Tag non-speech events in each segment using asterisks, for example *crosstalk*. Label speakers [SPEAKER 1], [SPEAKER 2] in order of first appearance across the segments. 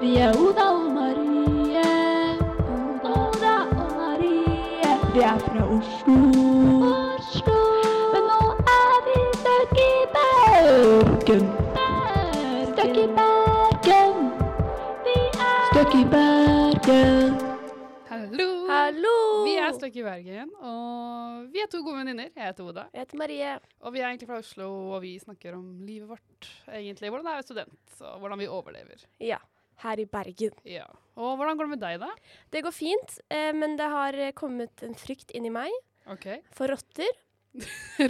[SPEAKER 1] Marie, Oda og Marie. Oda og Marie. Vi er fra Oslo. Oslo. Men nå er vi stuck i Bergen. Stuck i Bergen. Vi er Stuck i Bergen.
[SPEAKER 2] Hallo!
[SPEAKER 3] Hallo!
[SPEAKER 2] Vi er Støkk i Bergen, og vi er to gode venninner. Jeg heter Oda,
[SPEAKER 3] Jeg heter Marie.
[SPEAKER 2] og vi er egentlig fra Oslo, og vi snakker om livet vårt, egentlig. Hvordan det er å være student, og hvordan vi overlever.
[SPEAKER 3] Ja, her i Bergen.
[SPEAKER 2] Ja. Og hvordan går det med deg, da?
[SPEAKER 3] Det går fint, eh, men det har eh, kommet en frykt inni meg
[SPEAKER 2] OK.
[SPEAKER 3] for rotter.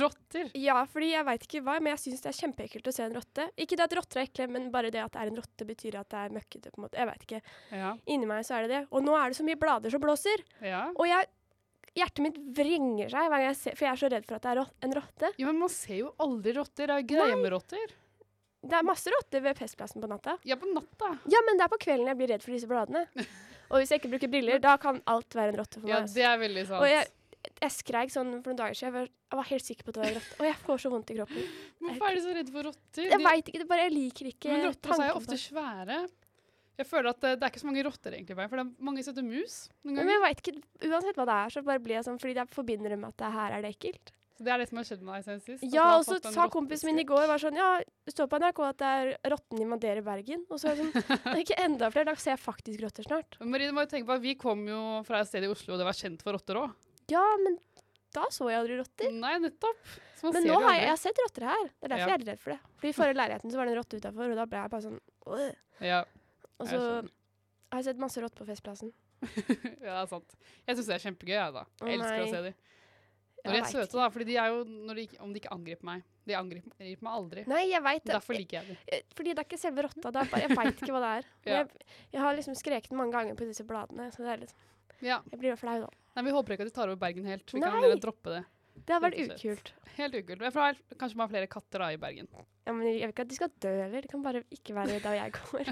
[SPEAKER 2] Rotter.
[SPEAKER 3] Ja, fordi jeg veit ikke hva, men jeg syns det er kjempeekkelt å se en rotte. Ikke det at rotter er ekle, men bare det at det er en rotte, betyr at det er møkkete, på en måte. Jeg veit ikke.
[SPEAKER 2] Ja.
[SPEAKER 3] Inni meg så er det det. Og nå er det så mye blader som blåser.
[SPEAKER 2] ja.
[SPEAKER 3] Og jeg Hjertet mitt vrenger seg hver gang jeg ser For jeg er så redd for at det er rot en rotte.
[SPEAKER 2] Jo, men man ser jo aldri rotter. Det er jo greia med rotter.
[SPEAKER 3] Det er masse rotter ved festplassen på natta.
[SPEAKER 2] Ja, på natta.
[SPEAKER 3] Ja, men det er på kvelden jeg blir redd for disse bladene. Og hvis jeg ikke bruker briller, da kan alt være en rotte for meg.
[SPEAKER 2] Ja,
[SPEAKER 3] altså.
[SPEAKER 2] det er veldig sant.
[SPEAKER 3] Og jeg, jeg skreik sånn for noen dager siden. Jeg var, jeg var helt sikker på at det var en rotte. Og jeg får så vondt i kroppen.
[SPEAKER 2] Hvorfor er du så redd for rotter?
[SPEAKER 3] Jeg
[SPEAKER 2] De-
[SPEAKER 3] veit ikke, det bare jeg liker ikke
[SPEAKER 2] Men rotter også er jo
[SPEAKER 3] tanken på
[SPEAKER 2] ofte
[SPEAKER 3] det.
[SPEAKER 2] svære. Jeg føler at eh, det er ikke så mange rotter egentlig, i verden, for det er mange søte mus. Noen
[SPEAKER 3] Men
[SPEAKER 2] ganger.
[SPEAKER 3] jeg vet ikke, Uansett hva det er, så bare blir jeg sånn fordi jeg forbinder det med at det her er det ekkelt.
[SPEAKER 2] Så det er det som har skjedd med deg siden sist. at du
[SPEAKER 3] Ja,
[SPEAKER 2] har
[SPEAKER 3] og så
[SPEAKER 2] fått en
[SPEAKER 3] sa kompisen min i
[SPEAKER 2] rotteskrekk.
[SPEAKER 3] går var sånn Ja, det står på NRK at det er rotten invaderer Bergen. Og så
[SPEAKER 2] *laughs*
[SPEAKER 3] er jeg sånn «Det er Ikke enda flere, da ser jeg faktisk rotter snart.
[SPEAKER 2] Men Marie, du må jo tenke på at vi kom jo fra et sted i Oslo, og det var kjent for rotter òg.
[SPEAKER 3] Ja, men da så jeg aldri rotter.
[SPEAKER 2] Nei, nettopp. Så man
[SPEAKER 3] Men
[SPEAKER 2] ser
[SPEAKER 3] nå
[SPEAKER 2] jo
[SPEAKER 3] har jeg,
[SPEAKER 2] aldri.
[SPEAKER 3] jeg har sett rotter her. Det er derfor
[SPEAKER 2] Ja.
[SPEAKER 3] jeg er redd for det. Fordi I forrige leiligheten så var det en rotte utafor, og da ble jeg bare sånn «Åh».
[SPEAKER 2] ja, *laughs*
[SPEAKER 3] Og
[SPEAKER 2] jeg
[SPEAKER 3] så
[SPEAKER 2] skjønner.
[SPEAKER 3] har jeg sett masse rotter på Festplassen.
[SPEAKER 2] ja, det er sant. Jeg syns det er kjempegøy, jeg, da.
[SPEAKER 3] Å,
[SPEAKER 2] Jeg elsker
[SPEAKER 3] nei.
[SPEAKER 2] å se dem.
[SPEAKER 3] Jeg
[SPEAKER 2] Når de er
[SPEAKER 3] vet
[SPEAKER 2] søte,
[SPEAKER 3] ikke.
[SPEAKER 2] da. Fordi de er jo når de ikke, Om de ikke angriper meg. De angriper angriper meg aldri.
[SPEAKER 3] Nei, jeg veit det.
[SPEAKER 2] Derfor liker jeg dem.
[SPEAKER 3] Eh, Fordi det er ikke selve rotta. Det er bare, jeg veit ikke hva det er.
[SPEAKER 2] *laughs*
[SPEAKER 3] Men
[SPEAKER 2] Ja.
[SPEAKER 3] jeg, jeg har liksom skreket den mange ganger på disse bladene, så det er litt,
[SPEAKER 2] Ja.
[SPEAKER 3] jeg blir jo flau da.
[SPEAKER 2] Nei, vi håper ikke at de tar over Bergen helt. Vi kan
[SPEAKER 3] Nei.
[SPEAKER 2] heller droppe det.
[SPEAKER 3] Det hadde vært
[SPEAKER 2] Rett og slett.
[SPEAKER 3] ukult.
[SPEAKER 2] Helt ukult. Men jeg tror det er Kanskje man har flere katter da i Bergen. *laughs*
[SPEAKER 3] Ja, men jeg vil ikke at de skal dø heller. Det kan bare ikke være der jeg går.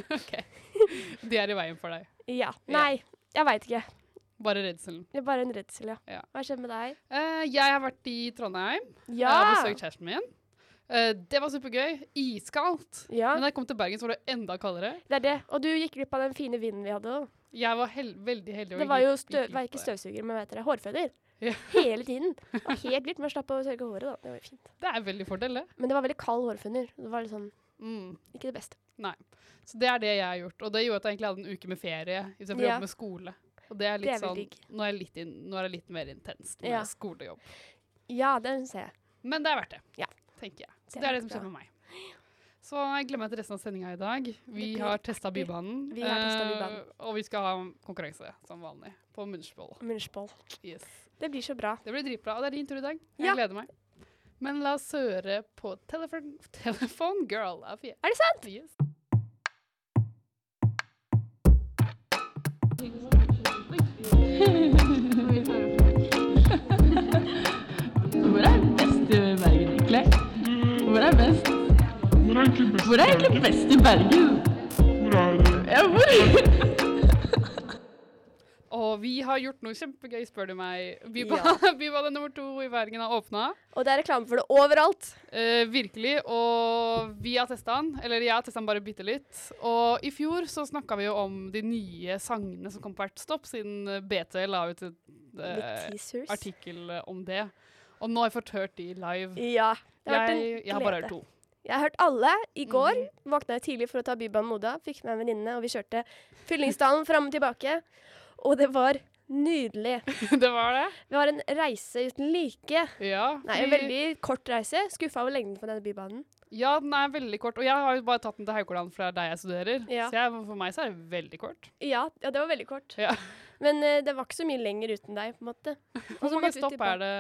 [SPEAKER 2] *laughs* De er i veien for deg.
[SPEAKER 3] Ja. Nei, jeg veit ikke.
[SPEAKER 2] Bare redselen.
[SPEAKER 3] Det er bare en redsel,
[SPEAKER 2] Ja.
[SPEAKER 3] ja. Hva skjedde med deg?
[SPEAKER 2] Eh, jeg har vært i Trondheim.
[SPEAKER 3] Ja!
[SPEAKER 2] Jeg har besøkt kjæresten min. Eh, det var supergøy. Iskaldt.
[SPEAKER 3] ja.
[SPEAKER 2] Men da jeg kom til Bergen, så var det enda kaldere.
[SPEAKER 3] Det er det. Og du gikk glipp av den fine vinden vi hadde òg.
[SPEAKER 2] Jeg var hel veldig heldig. og
[SPEAKER 3] Det var jo
[SPEAKER 2] gikk-
[SPEAKER 3] støv,
[SPEAKER 2] gikk
[SPEAKER 3] var
[SPEAKER 2] litt
[SPEAKER 3] ikke
[SPEAKER 2] på det.
[SPEAKER 3] støvsuger, men hva heter det, hårføner.
[SPEAKER 2] Ja.
[SPEAKER 3] *laughs* Hele tiden. Og helt glitt, men jeg slapp å sørge håret, da. Det var jo fint.
[SPEAKER 2] Det er veldig fordel, det.
[SPEAKER 3] Men det var veldig kald hårføner. Det var litt sånn
[SPEAKER 2] Mm.
[SPEAKER 3] ikke det beste.
[SPEAKER 2] Så det er det jeg har gjort. Og det gjorde at jeg egentlig hadde en uke med ferie istedenfor å
[SPEAKER 3] Ja.
[SPEAKER 2] jobbe med skole. Og det er litt
[SPEAKER 3] Det er vel
[SPEAKER 2] sånn
[SPEAKER 3] digg.
[SPEAKER 2] nå er, jeg litt inn, nå er det litt mer intenst med
[SPEAKER 3] Ja.
[SPEAKER 2] skolejobb.
[SPEAKER 3] Ja, den ser jeg.
[SPEAKER 2] Men det er verdt det,
[SPEAKER 3] Ja.
[SPEAKER 2] tenker jeg. Så
[SPEAKER 3] Det
[SPEAKER 2] det er
[SPEAKER 3] er
[SPEAKER 2] det som
[SPEAKER 3] bra.
[SPEAKER 2] skjer med meg. Så jeg gleder meg til resten av sendinga i dag. Vi
[SPEAKER 3] blir
[SPEAKER 2] har testa Bybanen.
[SPEAKER 3] Vi har testet
[SPEAKER 2] eh,
[SPEAKER 3] Bybanen.
[SPEAKER 2] og vi skal ha konkurranse, som vanlig, på Munchbowl.
[SPEAKER 3] Munchboll.
[SPEAKER 2] Yes.
[SPEAKER 3] Det blir så bra.
[SPEAKER 2] Det blir dritbra. Og det er din tur i dag. Jeg
[SPEAKER 3] Ja.
[SPEAKER 2] gleder meg. Men la oss høre på *laughs* Telephone, telephone Girl av Fie.
[SPEAKER 3] Er det sant?
[SPEAKER 2] Yes.
[SPEAKER 4] Hvor er best i Bergen, egentlig? Hvor er best? Hvor er egentlig best i Bergen? Ja, hvor?
[SPEAKER 2] Og vi har gjort noe kjempegøy, spør du meg. Bybanen *laughs* Bybanen nummer to i Bergen har åpna.
[SPEAKER 3] Og det er reklame for det overalt.
[SPEAKER 2] Eh, virkelig. Og vi har testa den. Eller jeg har testa den bare bitte litt. Og i fjor så snakka vi jo om de nye sangene som kom på hvert stopp, siden eh, BT la ut en
[SPEAKER 3] Litt
[SPEAKER 2] eh,
[SPEAKER 3] teasers.
[SPEAKER 2] artikkel eh, om det. Og nå har jeg fått hørt de live.
[SPEAKER 3] Ja. Det har vært en
[SPEAKER 2] Jeg, jeg har bare hørt
[SPEAKER 3] glede.
[SPEAKER 2] to. *laughs*
[SPEAKER 3] Jeg har hørt alle. I går våkna jeg tidlig for å ta Bybanen Moda. Fikk med en venninne, og vi kjørte Fyllingsdalen fram og tilbake. Og det var nydelig.
[SPEAKER 2] det var det.
[SPEAKER 3] Det var en reise uten like.
[SPEAKER 2] Ja.
[SPEAKER 3] Nei, en
[SPEAKER 2] vi-
[SPEAKER 3] veldig kort reise. Skuffa over lengden på denne bybanen.
[SPEAKER 2] ja, den er veldig kort. Og jeg har jo bare tatt den til Haukeland fra der jeg studerer.
[SPEAKER 3] Ja.
[SPEAKER 2] Så jeg, for meg så er det veldig kort.
[SPEAKER 3] Ja, ja, det var veldig kort.
[SPEAKER 2] Ja.
[SPEAKER 3] Men eh, det var ikke så mye lenger uten deg, på en måte.
[SPEAKER 2] Hvor mange stopp er det?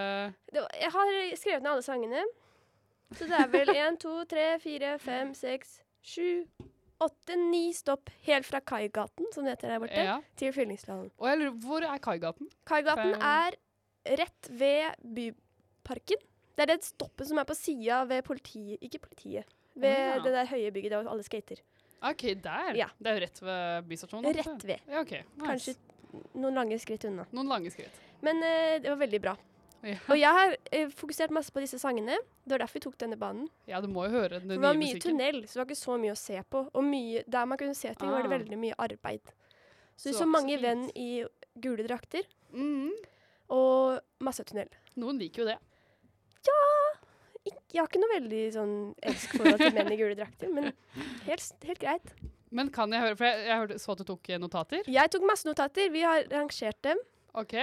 [SPEAKER 3] det var, jeg har skrevet ned alle sangene. Så det er vel én, to, tre, fire, fem, seks, sju, åtte, ni stopp helt fra Kaigaten, som det heter der borte,
[SPEAKER 2] Ja.
[SPEAKER 3] til Fyllingsdalen.
[SPEAKER 2] Og jeg lurer, hvor er Kaigaten?
[SPEAKER 3] Kaigaten
[SPEAKER 2] Fem.
[SPEAKER 3] er rett ved Byparken. Det er det stoppet som er på sida ved politiet Ikke politiet. Ved
[SPEAKER 2] Ja.
[SPEAKER 3] det der høye bygget der alle skater.
[SPEAKER 2] OK, der.
[SPEAKER 3] Ja.
[SPEAKER 2] Det er jo rett ved bystasjonen. altså.
[SPEAKER 3] Rett ved.
[SPEAKER 2] Ja, ok. Nice.
[SPEAKER 3] Kanskje noen lange skritt unna.
[SPEAKER 2] Noen lange skritt.
[SPEAKER 3] Men eh, det var veldig bra.
[SPEAKER 2] Ja.
[SPEAKER 3] Og jeg har eh, fokusert masse på disse sangene. Det var derfor vi tok denne banen.
[SPEAKER 2] Ja, du må jo høre den
[SPEAKER 3] For
[SPEAKER 2] nye
[SPEAKER 3] det var mye
[SPEAKER 2] musikken.
[SPEAKER 3] tunnel, så det var ikke så mye å se på. Og mye, der man kunne se ting, var det
[SPEAKER 2] Ah.
[SPEAKER 3] veldig mye arbeid. Så
[SPEAKER 2] Så
[SPEAKER 3] vi
[SPEAKER 2] det
[SPEAKER 3] så
[SPEAKER 2] var ikke så
[SPEAKER 3] mange
[SPEAKER 2] fint.
[SPEAKER 3] venn i gule drakter
[SPEAKER 2] Mhm.
[SPEAKER 3] og masse tunnel.
[SPEAKER 2] Noen liker jo det.
[SPEAKER 3] Ik jeg har ikke noe veldig sånn elsk-forhold til menn i gule drakter, men
[SPEAKER 2] *laughs*
[SPEAKER 3] helt, s- helt greit.
[SPEAKER 2] Men kan jeg høre, for jeg, jeg hørte, så at du tok eh, notater.
[SPEAKER 3] Jeg tok masse notater. Vi har rangert dem.
[SPEAKER 2] Ok.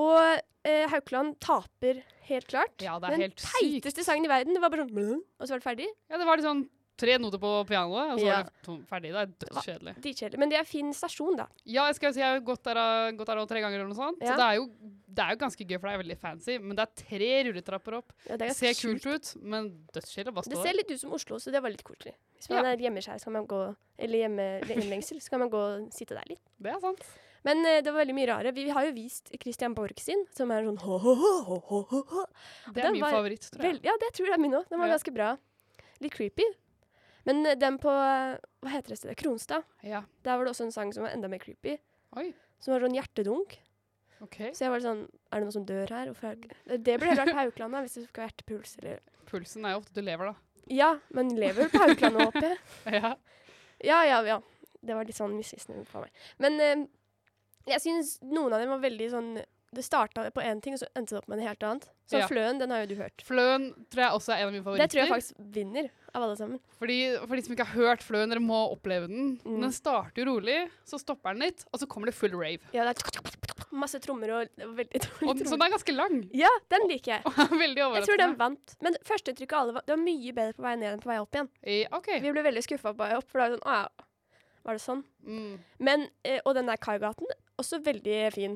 [SPEAKER 3] Og eh, Haukeland taper helt klart.
[SPEAKER 2] Ja, det er
[SPEAKER 3] Den
[SPEAKER 2] helt sykt.
[SPEAKER 3] teiteste sangen i verden. Det var bare sånn «Mø», Og så var det ferdig.
[SPEAKER 2] Ja, det var liksom tre noter på pianoet, og så
[SPEAKER 3] Ja.
[SPEAKER 2] var det tom- ferdig. Det er dødskjedelig.
[SPEAKER 3] Dritkjedelig. Men det er fin stasjon, da.
[SPEAKER 2] Ja, jeg skal jo si jeg har gått der, eh, gått der nå tre ganger eller noe sånt.
[SPEAKER 3] Ja.
[SPEAKER 2] Så det er, jo, det er jo ganske gøy, for det er veldig fancy. Men det er tre rulletrapper opp.
[SPEAKER 3] Ja, det er ganske
[SPEAKER 2] Ser kult ut, men dødskjedelig. Hva
[SPEAKER 3] Det
[SPEAKER 2] står
[SPEAKER 3] ser litt ut som Oslo, så det var litt koselig. Hvis man er hjemme seg, så kan man gå, eller hjemme hjemlengsel, så kan man gå og sitte der litt.
[SPEAKER 2] Det er sant.
[SPEAKER 3] Men eh, det var veldig mye rare. Vi har jo vist Christian Borch sin, som er sånn ho-ho-ho-ho-ho.
[SPEAKER 2] Det er
[SPEAKER 3] Den
[SPEAKER 2] min
[SPEAKER 3] var
[SPEAKER 2] favoritt, tror jeg.
[SPEAKER 3] Vel, ja, det tror jeg er min òg. Den var
[SPEAKER 2] Ja.
[SPEAKER 3] ganske bra. Litt creepy. Men eh, den på eh, Hva heter det stedet? Kronstad.
[SPEAKER 2] Ja.
[SPEAKER 3] Der var det også en sang som var enda mer creepy.
[SPEAKER 2] Oi,
[SPEAKER 3] Som var sånn hjertedunk.
[SPEAKER 2] ok.
[SPEAKER 3] Så jeg var litt sånn Er det noen som dør her? Hvorfor er det Det blir helt rart på Haukeland da, hvis det skal være hjertepuls eller
[SPEAKER 2] Pulsen er jo ofte du lever,
[SPEAKER 3] Ja, men lever vel på Haukeland nå, håper jeg.
[SPEAKER 2] da. *laughs* Ja.
[SPEAKER 3] Ja, ja, ja. Det var litt sånn misvisende for meg. Men eh, jeg syns noen av dem var veldig sånn Det starta på én ting, og så endte det opp med noe helt annet. Så
[SPEAKER 2] Ja.
[SPEAKER 3] Fløen, den har jo du hørt.
[SPEAKER 2] Fløen tror jeg også er en av mine favoritter.
[SPEAKER 3] Det tror jeg faktisk vinner av alle sammen.
[SPEAKER 2] Fordi, for de som ikke har hørt Fløen, dere må oppleve den.
[SPEAKER 3] Mm.
[SPEAKER 2] Den starter jo rolig, så stopper den litt, og så kommer det full
[SPEAKER 3] *laughs*
[SPEAKER 2] rave.
[SPEAKER 3] Ja, det er masse trommer og det var veldig
[SPEAKER 2] Og,
[SPEAKER 3] dårlig
[SPEAKER 2] så
[SPEAKER 3] trommer.
[SPEAKER 2] den sånn- er ganske lang.
[SPEAKER 3] Ja, den liker jeg.
[SPEAKER 2] *laughs* Veldig
[SPEAKER 3] Jeg tror den
[SPEAKER 2] overraskende.
[SPEAKER 3] vant. Men førsteinntrykket av alle var Det var mye bedre på vei ned enn på vei opp igjen.
[SPEAKER 2] Eh, OK.
[SPEAKER 3] Vi ble veldig skuffa på vei opp, for da var det sånn Å ja, var det sånn?
[SPEAKER 2] Mm.
[SPEAKER 3] Men, eh, og den der Kaigaten, også veldig fin.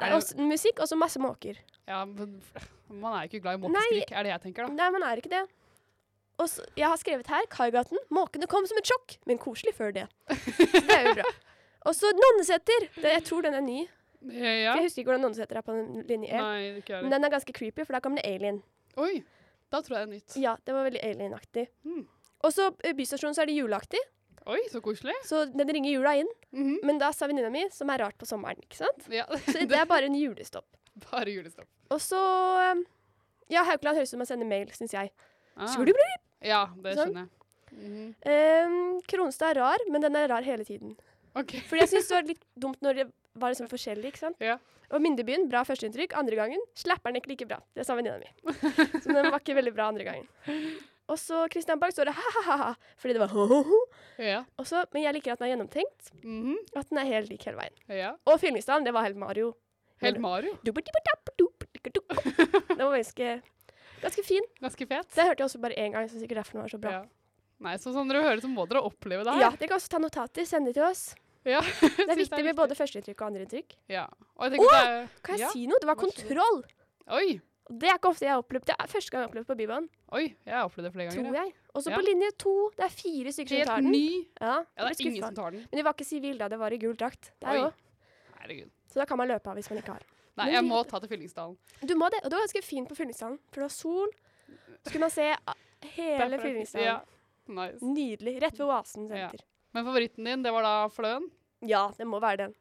[SPEAKER 3] Det
[SPEAKER 2] Er
[SPEAKER 3] er
[SPEAKER 2] det-
[SPEAKER 3] også musikk, og så masse måker.
[SPEAKER 2] Ja, men *laughs* f- man er jo ikke glad i måkeskrik, er det jeg tenker, da.
[SPEAKER 3] Nei, man er ikke det. Og så, jeg har skrevet her Kaigaten. Måkene kom som et sjokk, men koselig før det. Så det er jo bra.
[SPEAKER 2] *laughs*
[SPEAKER 3] Og så Nonneseter. Det- Jeg tror den er ny.
[SPEAKER 2] Eh,
[SPEAKER 3] For
[SPEAKER 2] Ja.
[SPEAKER 3] Jeg husker ikke hvordan Nonneseter er på den linje E.
[SPEAKER 2] Nei, det er ikke jeg
[SPEAKER 3] Men
[SPEAKER 2] heller.
[SPEAKER 3] den er ganske creepy, for da kommer det alien.
[SPEAKER 2] Oi, da tror jeg det er nytt.
[SPEAKER 3] Ja, det var veldig alienaktig.
[SPEAKER 2] Mm.
[SPEAKER 3] Og så eh, Bystasjonen så er det juleaktig,
[SPEAKER 2] Oi, så koselig.
[SPEAKER 3] så den ringer jula inn.
[SPEAKER 2] Mhm.
[SPEAKER 3] Men da sa venninna mi, som er rart på sommeren, ikke sant.
[SPEAKER 2] *laughs* Ja, *laughs*
[SPEAKER 3] Så det er bare en julestopp.
[SPEAKER 2] bare julestopp.
[SPEAKER 3] Og så eh, Ja, Haukeland høres ut som man sender mail, syns jeg.
[SPEAKER 2] Ah.
[SPEAKER 3] Skulle bli-
[SPEAKER 2] Ja, det
[SPEAKER 3] Sånn.
[SPEAKER 2] skjønner jeg. Mhm.
[SPEAKER 3] Eh, Kronstad er rar, men den er rar hele tiden.
[SPEAKER 2] OK. *laughs*
[SPEAKER 3] Fordi jeg syns det var litt dumt når det var liksom forskjellig. ikke sant?
[SPEAKER 2] Ja.
[SPEAKER 3] Og Mindebyen, bra førsteinntrykk. Andre gangen slapper den ikke like bra. Det sa venninna
[SPEAKER 2] *laughs*
[SPEAKER 3] mi. Så den var ikke veldig bra andre gangen. Og så Christian Park står det ha-ha-ha, fordi det var ho-ho-ho.
[SPEAKER 2] Ja.
[SPEAKER 3] Og så- Men jeg liker at den er gjennomtenkt,
[SPEAKER 2] Mhm.
[SPEAKER 3] og at den er helt lik hele veien.
[SPEAKER 2] ja.
[SPEAKER 3] Og Fyllingsdalen, det var helt Mario.
[SPEAKER 2] Helt Mario.
[SPEAKER 3] Dubbeltippertappdubbeltikkertupp. Den var ganske, ganske fin.
[SPEAKER 2] Ganske fet.
[SPEAKER 3] Det hørte jeg også bare én gang, så sikkert derfor den var så bra.
[SPEAKER 2] Ja. Nei, så sånn dere hører, så må dere oppleve det her.
[SPEAKER 3] Ja, Dere kan også ta notater, sende det til oss.
[SPEAKER 2] Ja, *laughs*
[SPEAKER 3] Det er
[SPEAKER 2] synes
[SPEAKER 3] viktig med både førsteinntrykk og andreinntrykk.
[SPEAKER 2] Ja. Og jeg tenker det er-
[SPEAKER 3] Kan jeg
[SPEAKER 2] ja.
[SPEAKER 3] si noe? Det var
[SPEAKER 2] vær så god.
[SPEAKER 3] kontroll!
[SPEAKER 2] Oi,
[SPEAKER 3] Og Det er ikke ofte jeg har opplevd. Det er første gang jeg har opplevd på Bybanen,
[SPEAKER 2] oi, jeg har opplevd det flere ganger.
[SPEAKER 3] tror jeg. Og så
[SPEAKER 2] Ja.
[SPEAKER 3] på linje to. Det er fire stykker som
[SPEAKER 2] Helt
[SPEAKER 3] tar den.
[SPEAKER 2] ny.
[SPEAKER 3] Ja,
[SPEAKER 2] Ja, det
[SPEAKER 3] jeg
[SPEAKER 2] er
[SPEAKER 3] ble
[SPEAKER 2] ingen som
[SPEAKER 3] skuffa.
[SPEAKER 2] tar den.
[SPEAKER 3] Men de var ikke sivile da, det var i gul drakt. Der
[SPEAKER 2] Oi.
[SPEAKER 3] også.
[SPEAKER 2] Herregud.
[SPEAKER 3] Så da kan man løpe av hvis man ikke har.
[SPEAKER 2] Nei,
[SPEAKER 3] Men
[SPEAKER 2] jeg
[SPEAKER 3] vi-
[SPEAKER 2] må ta til Fyllingsdalen.
[SPEAKER 3] Du må det. Og det var ganske fint på Fyllingsdalen, for det var sol. Så kunne man se a- hele
[SPEAKER 2] Derfor-
[SPEAKER 3] Fyllingsdalen.
[SPEAKER 2] Ja. Nice.
[SPEAKER 3] Nydelig. Rett ved Oasen senter.
[SPEAKER 2] Men favoritten din, det var da Fløen.
[SPEAKER 3] Ja. det må være den.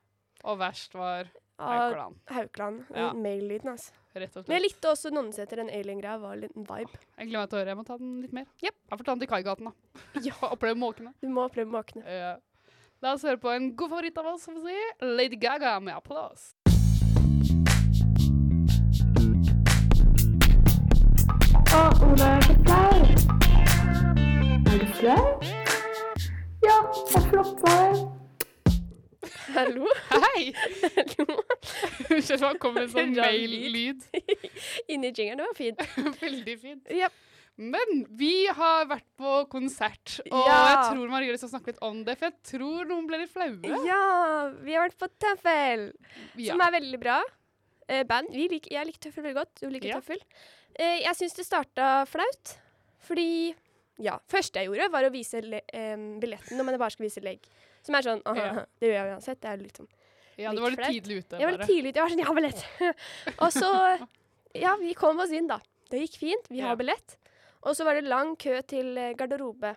[SPEAKER 2] Og verst var
[SPEAKER 3] Av
[SPEAKER 2] Haukeland.
[SPEAKER 3] Haukeland.
[SPEAKER 2] Ja.
[SPEAKER 3] Den Mail-lyden, altså.
[SPEAKER 2] Rett og
[SPEAKER 3] Men jeg
[SPEAKER 2] slett.
[SPEAKER 3] likte også Nonneseter, den alien-greia var en liten vibe.
[SPEAKER 2] Jeg gleder meg til å høre. Jeg må ta den litt mer.
[SPEAKER 3] Jep.
[SPEAKER 2] Jeg får ta den til Kaigaten, da.
[SPEAKER 3] Ja.
[SPEAKER 2] *laughs* Og oppleve måkene.
[SPEAKER 3] Du må oppleve måkene. *laughs*
[SPEAKER 2] Eh, La oss høre på en god favoritt av oss, som vi sier. Lady Gaga med applaus.
[SPEAKER 1] Og Ola er så flau. Er du flau? Ja, jeg floppa det.
[SPEAKER 3] Hallo? *laughs*
[SPEAKER 2] Hei!
[SPEAKER 3] Hallo?
[SPEAKER 2] Unnskyld, det kommer en *laughs* sånn
[SPEAKER 3] Rar
[SPEAKER 2] mail-lyd.
[SPEAKER 3] *laughs* Inni jingeren, det var fint.
[SPEAKER 2] Veldig fint.
[SPEAKER 3] Ja.
[SPEAKER 2] Men vi har vært på konsert, og
[SPEAKER 3] Ja.
[SPEAKER 2] jeg tror Marie har lyst til å snakke litt om det, for jeg tror noen ble litt flaue.
[SPEAKER 3] Ja, vi har vært på Tøffel,
[SPEAKER 2] Ja.
[SPEAKER 3] som er veldig bra. Eh, band. Vi lik, jeg liker Tøffel veldig godt. Du liker
[SPEAKER 2] Ja.
[SPEAKER 3] Tøffel. Eh, jeg syns det starta flaut, fordi ja, første jeg gjorde, var å vise le em, billetten når man bare skal vise legg. Som er sånn aha,
[SPEAKER 2] Ja.
[SPEAKER 3] Det gjør jeg uansett. Det er litt sånn.
[SPEAKER 2] ja, du var
[SPEAKER 3] litt
[SPEAKER 2] litt tidlig ute.
[SPEAKER 3] Jeg var litt
[SPEAKER 2] bare.
[SPEAKER 3] tidlig ute. Jeg var sånn Jeg har billett! *laughs* og så Ja, vi kom oss inn, da. Det gikk fint. Vi
[SPEAKER 2] Ja.
[SPEAKER 3] har billett. Og så var det lang kø til eh, garderobe.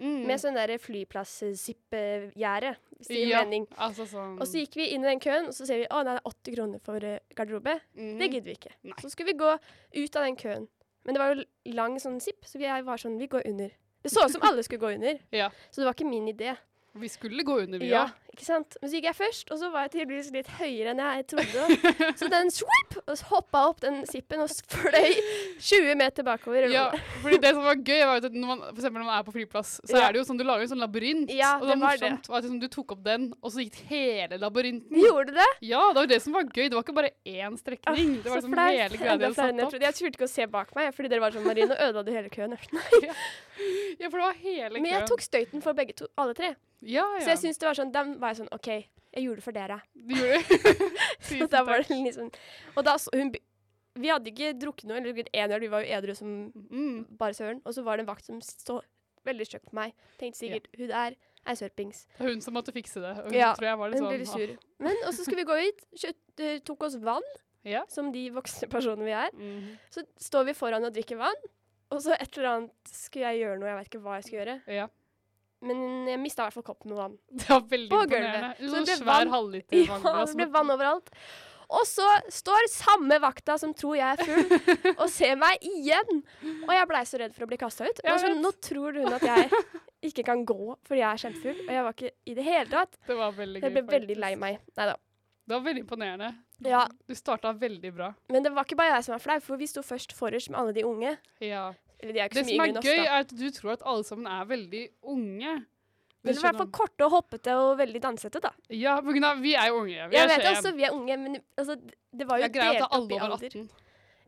[SPEAKER 2] Mm.
[SPEAKER 3] med sånn der flyplass-zipp-gjerde, hvis det gir
[SPEAKER 2] ja,
[SPEAKER 3] mening.
[SPEAKER 2] Altså sånn
[SPEAKER 3] Og så gikk vi inn i den køen, og så ser vi å, nei, det er 80 kroner for eh, garderobe.
[SPEAKER 2] mm.
[SPEAKER 3] Det gidder vi ikke.
[SPEAKER 2] Nei.
[SPEAKER 3] Så skulle vi gå ut av den køen. Men det var jo lang sånn zipp, så vi var sånn Vi går under. Det så ut som alle skulle gå under,
[SPEAKER 2] *laughs* Ja.
[SPEAKER 3] så det var ikke min idé.
[SPEAKER 2] Vi skulle gå under, vi
[SPEAKER 3] Ja,
[SPEAKER 2] òg.
[SPEAKER 3] ikke sant? Men så gikk jeg først, og så var jeg tydeligvis litt høyere enn jeg trodde.
[SPEAKER 2] *laughs*
[SPEAKER 3] da. Så den swoop, og så hoppa opp den zippen og s- fløy 20 meter bakover.
[SPEAKER 2] Ja, fordi det som var gøy, var jo at når man, for eksempel når man er på flyplass, så
[SPEAKER 3] Ja.
[SPEAKER 2] er det jo sånn du lager en sånn labyrint.
[SPEAKER 3] Ja,
[SPEAKER 2] og
[SPEAKER 3] det var det.
[SPEAKER 2] morsomt var at liksom, du tok opp den, og så gikk hele labyrinten.
[SPEAKER 3] *laughs* Gjorde du det?
[SPEAKER 2] Ja, det var jo det som var gøy. Det var ikke bare én strekning. Det var
[SPEAKER 3] så
[SPEAKER 2] liksom
[SPEAKER 3] flaut.
[SPEAKER 2] hele greia de hadde
[SPEAKER 3] Enda flauere enn
[SPEAKER 2] satt
[SPEAKER 3] jeg
[SPEAKER 2] opp.
[SPEAKER 3] trodde. Jeg turte ikke å se bak meg, fordi dere var sånn Marie, nå ødela du hele køen.
[SPEAKER 2] Ja, for det var hele
[SPEAKER 3] Men jeg
[SPEAKER 2] køen.
[SPEAKER 3] tok støyten for begge to, alle tre.
[SPEAKER 2] Ja, ja.
[SPEAKER 3] Så jeg syns det var sånn Dem var jeg sånn OK, jeg gjorde det for dere.
[SPEAKER 2] Du
[SPEAKER 3] *laughs*
[SPEAKER 2] gjorde
[SPEAKER 3] Og da var det liksom Og da så hun be- Vi hadde ikke drukket noe eller drukket én øl, vi var jo edru som
[SPEAKER 2] Mm.
[SPEAKER 3] bare søren. Og så var det en vakt som så veldig stygt på meg. Tenkte sikkert Hun der er sørpings.
[SPEAKER 2] Det er hun som måtte fikse det. og Hun
[SPEAKER 3] Ja,
[SPEAKER 2] tror jeg var litt
[SPEAKER 3] Hun
[SPEAKER 2] sånn
[SPEAKER 3] ble litt sur. Men og så skulle vi gå ut. Kjøtt, eh, tok oss vann,
[SPEAKER 2] «Ah, Ja.
[SPEAKER 3] som de voksne personene vi er.
[SPEAKER 2] Mhm.
[SPEAKER 3] Så står vi foran og drikker vann. Og så et eller annet skulle jeg gjøre noe, jeg vet ikke hva jeg skulle gjøre.
[SPEAKER 2] ja.
[SPEAKER 3] Men jeg mista i hvert fall koppen med vann.
[SPEAKER 2] *laughs* Det var veldig
[SPEAKER 3] På
[SPEAKER 2] imponerende.
[SPEAKER 3] gulvet.
[SPEAKER 2] En
[SPEAKER 3] Så
[SPEAKER 2] Sånn
[SPEAKER 3] det ble
[SPEAKER 2] svær
[SPEAKER 3] vann-
[SPEAKER 2] halvliter
[SPEAKER 3] Ja,
[SPEAKER 2] vannglass
[SPEAKER 3] det
[SPEAKER 2] med-
[SPEAKER 3] ble vann overalt. Og så står samme vakta som tror jeg
[SPEAKER 2] *laughs*
[SPEAKER 3] er full, og ser meg igjen. Og jeg blei så redd for å bli kasta ut.
[SPEAKER 2] Jeg
[SPEAKER 3] Men sånn,
[SPEAKER 2] vet.
[SPEAKER 3] nå tror hun at jeg ikke kan gå fordi jeg er kjempefull, og jeg var ikke i det hele tatt.
[SPEAKER 2] Det var veldig gøy,
[SPEAKER 3] Jeg ble veldig
[SPEAKER 2] faktisk.
[SPEAKER 3] lei meg. Nei da.
[SPEAKER 2] Det var veldig imponerende.
[SPEAKER 3] Ja,
[SPEAKER 2] Du starta veldig bra.
[SPEAKER 3] men det var ikke bare jeg som var flau, for vi sto først forrest med alle de unge.
[SPEAKER 2] Ja.
[SPEAKER 3] Eller de er jo ikke
[SPEAKER 2] Det
[SPEAKER 3] så mye
[SPEAKER 2] som
[SPEAKER 3] yngre enn
[SPEAKER 2] er
[SPEAKER 3] oss,
[SPEAKER 2] gøy,
[SPEAKER 3] da.
[SPEAKER 2] er at du tror at alle sammen er veldig unge. Du
[SPEAKER 3] Men i hvert fall
[SPEAKER 2] skjønner-
[SPEAKER 3] korte og hoppete og veldig dansete, da.
[SPEAKER 2] Ja, på grunn av Vi er jo unge. Vi
[SPEAKER 3] Jeg
[SPEAKER 2] er
[SPEAKER 3] vet
[SPEAKER 2] skeive.
[SPEAKER 3] også vi er unge, men altså, det var
[SPEAKER 2] Det
[SPEAKER 3] jo
[SPEAKER 2] er greit at
[SPEAKER 3] delt opp
[SPEAKER 2] alle
[SPEAKER 3] i
[SPEAKER 2] over
[SPEAKER 3] alder.
[SPEAKER 2] 18,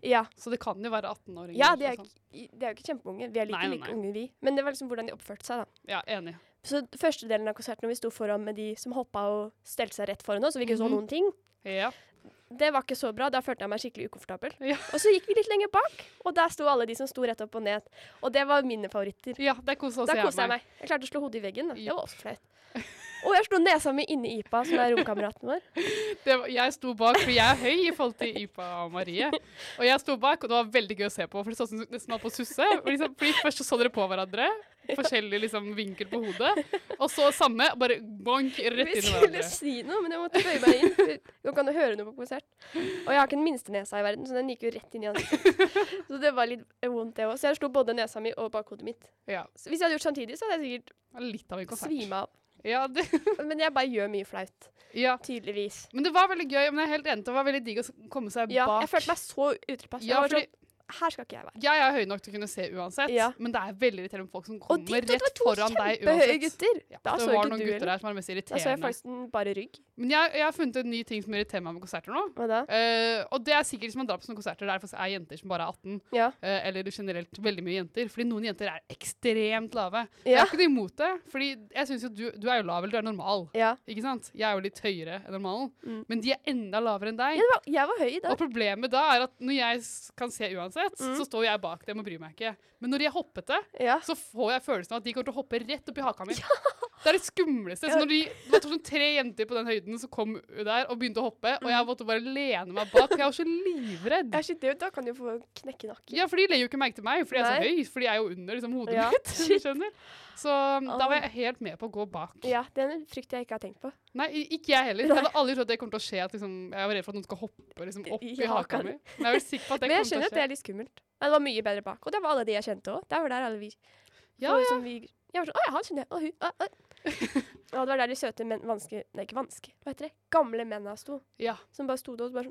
[SPEAKER 3] Ja.
[SPEAKER 2] så det kan jo være 18-åringer.
[SPEAKER 3] Ja, de er,
[SPEAKER 2] og sånn.
[SPEAKER 3] ikke- de er jo ikke kjempeunge. Vi er like,
[SPEAKER 2] Nei, nei,
[SPEAKER 3] like
[SPEAKER 2] nei.
[SPEAKER 3] unge, vi. Men det var liksom hvordan de oppførte seg, da.
[SPEAKER 2] Ja, enig.
[SPEAKER 3] Så første delen av konserten, når vi sto foran med de som hoppa og stelte seg rett foran oss, og vi ikke så
[SPEAKER 2] Mhm.
[SPEAKER 3] noen ting,
[SPEAKER 2] Ja.
[SPEAKER 3] det var ikke så bra. Da følte jeg meg skikkelig ukomfortabel.
[SPEAKER 2] Ja.
[SPEAKER 3] Og så gikk vi litt lenger bak, og der sto alle de som sto rett opp og ned. Og det var mine favoritter.
[SPEAKER 2] ja, der kosa også
[SPEAKER 3] Da koste jeg meg. Jeg klarte å slå hodet i veggen. Da.
[SPEAKER 2] Ja.
[SPEAKER 3] Det var også flaut. Og jeg slo nesa mi inni Ipa, som er romkameraten vår.
[SPEAKER 2] Det var, jeg sto bak, for jeg er høy i forhold til Ipa og Marie. Og jeg sto bak, og det var veldig gøy å se på, for det så ut som nesten var på susse. Og Liksom, fordi først så så dere på hverandre, forskjellig liksom, vinkel på hodet, og så samme, og bare bonk, rett
[SPEAKER 3] Vi
[SPEAKER 2] inn i
[SPEAKER 3] skulle
[SPEAKER 2] hverandre.
[SPEAKER 3] si noe, men jeg måtte bøye meg inn. for Nå kan du høre noe på konsert. Og jeg har ikke den minste nesa i verden, så den gikk jo rett inn i ansiktet.
[SPEAKER 2] *laughs*
[SPEAKER 3] Så det var litt vondt, det òg. Så jeg slo både nesa mi og bakhodet mitt.
[SPEAKER 2] Ja,
[SPEAKER 3] Så hvis jeg hadde gjort samtidig, så hadde jeg sikkert
[SPEAKER 2] litt av en konsert.
[SPEAKER 3] svima av.
[SPEAKER 2] Ja, det,
[SPEAKER 3] Men jeg bare gjør mye flaut.
[SPEAKER 2] ja.
[SPEAKER 3] Tydeligvis.
[SPEAKER 2] Men det var veldig gøy, men jeg er helt enig, det var veldig digg å s- komme seg
[SPEAKER 3] Ja,
[SPEAKER 2] bak.
[SPEAKER 3] jeg følte meg så utilpass.
[SPEAKER 2] Ja,
[SPEAKER 3] jeg var
[SPEAKER 2] fordi
[SPEAKER 3] sånn, her skal ikke jeg være.
[SPEAKER 2] jeg er høy nok til å kunne se uansett,
[SPEAKER 3] Ja.
[SPEAKER 2] men det er veldig irriterende med folk som
[SPEAKER 3] Og de
[SPEAKER 2] kommer
[SPEAKER 3] to, det var
[SPEAKER 2] rett
[SPEAKER 3] to
[SPEAKER 2] foran deg
[SPEAKER 3] kjempehøye
[SPEAKER 2] uansett.
[SPEAKER 3] gutter.
[SPEAKER 2] Ja,
[SPEAKER 3] da
[SPEAKER 2] det
[SPEAKER 3] så
[SPEAKER 2] var
[SPEAKER 3] ikke
[SPEAKER 2] noen
[SPEAKER 3] du
[SPEAKER 2] gutter
[SPEAKER 3] heller.
[SPEAKER 2] der som var det mest
[SPEAKER 3] Da så jeg
[SPEAKER 2] irriterende.
[SPEAKER 3] faktisk den bare rygg.
[SPEAKER 2] Men jeg, jeg har funnet en ny ting som irriterer meg med konserter nå.
[SPEAKER 3] Hva da?
[SPEAKER 2] Eh, og det er sikkert hvis man drar på sånne konserter der det faktisk er jenter som bare er 18,
[SPEAKER 3] Ja.
[SPEAKER 2] eh, eller generelt veldig mye jenter, fordi noen jenter er ekstremt lave. Jeg
[SPEAKER 3] Ja.
[SPEAKER 2] er ikke noe imot det, fordi jeg synes jo du, du er jo lav, eller du er normal,
[SPEAKER 3] ja.
[SPEAKER 2] ikke sant? Jeg er jo litt høyere enn normalen,
[SPEAKER 3] Mm.
[SPEAKER 2] men de er enda lavere enn deg.
[SPEAKER 3] Jeg, var, jeg var høy i
[SPEAKER 2] Og
[SPEAKER 3] dag.
[SPEAKER 2] problemet da er at når jeg s- kan se uansett,
[SPEAKER 3] Mm.
[SPEAKER 2] så står jeg bak dem og bryr meg ikke. Men når de er hoppete,
[SPEAKER 3] Ja.
[SPEAKER 2] så får jeg følelsen av at de kommer til å hoppe rett opp i haka mi. Det er det skumleste.
[SPEAKER 3] Ja.
[SPEAKER 2] Så når de, det var sånn tre jenter på den høyden som kom der og begynte å hoppe, og
[SPEAKER 3] Mm.
[SPEAKER 2] jeg måtte bare lene meg bak, for jeg var så livredd.
[SPEAKER 3] Ja, shit, det, da kan du få knekke nakken.
[SPEAKER 2] Ja, for de legger jo ikke merke til meg, for jeg er så
[SPEAKER 3] Nei.
[SPEAKER 2] høy, for de er jo under liksom, hodet
[SPEAKER 3] Ja,
[SPEAKER 2] mitt.
[SPEAKER 3] shit.
[SPEAKER 2] skjønner? Så um, da var jeg helt med på å gå bak.
[SPEAKER 3] Ja, det er en frykt jeg ikke har tenkt på.
[SPEAKER 2] Nei, i- ikke jeg heller. Jeg hadde aldri trodd at det kom til å skje. At, liksom, jeg var redd for at noen skal hoppe liksom, opp
[SPEAKER 3] I
[SPEAKER 2] i, haka
[SPEAKER 3] haka
[SPEAKER 2] mi. Men jeg er vel sikker på at det
[SPEAKER 3] Men jeg
[SPEAKER 2] kommer til å
[SPEAKER 3] skjønner at det
[SPEAKER 2] skje.
[SPEAKER 3] er litt skummelt. Men det var mye bedre bak. Og det var alle de jeg kjente òg. Der var der alle vi.
[SPEAKER 2] Ja,
[SPEAKER 3] det var sånn vi jeg var sånn Å ja, han kjenner jeg. Å, hun. Å,
[SPEAKER 2] *laughs*
[SPEAKER 3] å. Og det var der de søte menn Vanske Nei, ikke vanske. Hva heter det? Gamle menna sto.
[SPEAKER 2] Ja.
[SPEAKER 3] Som bare sto der og bare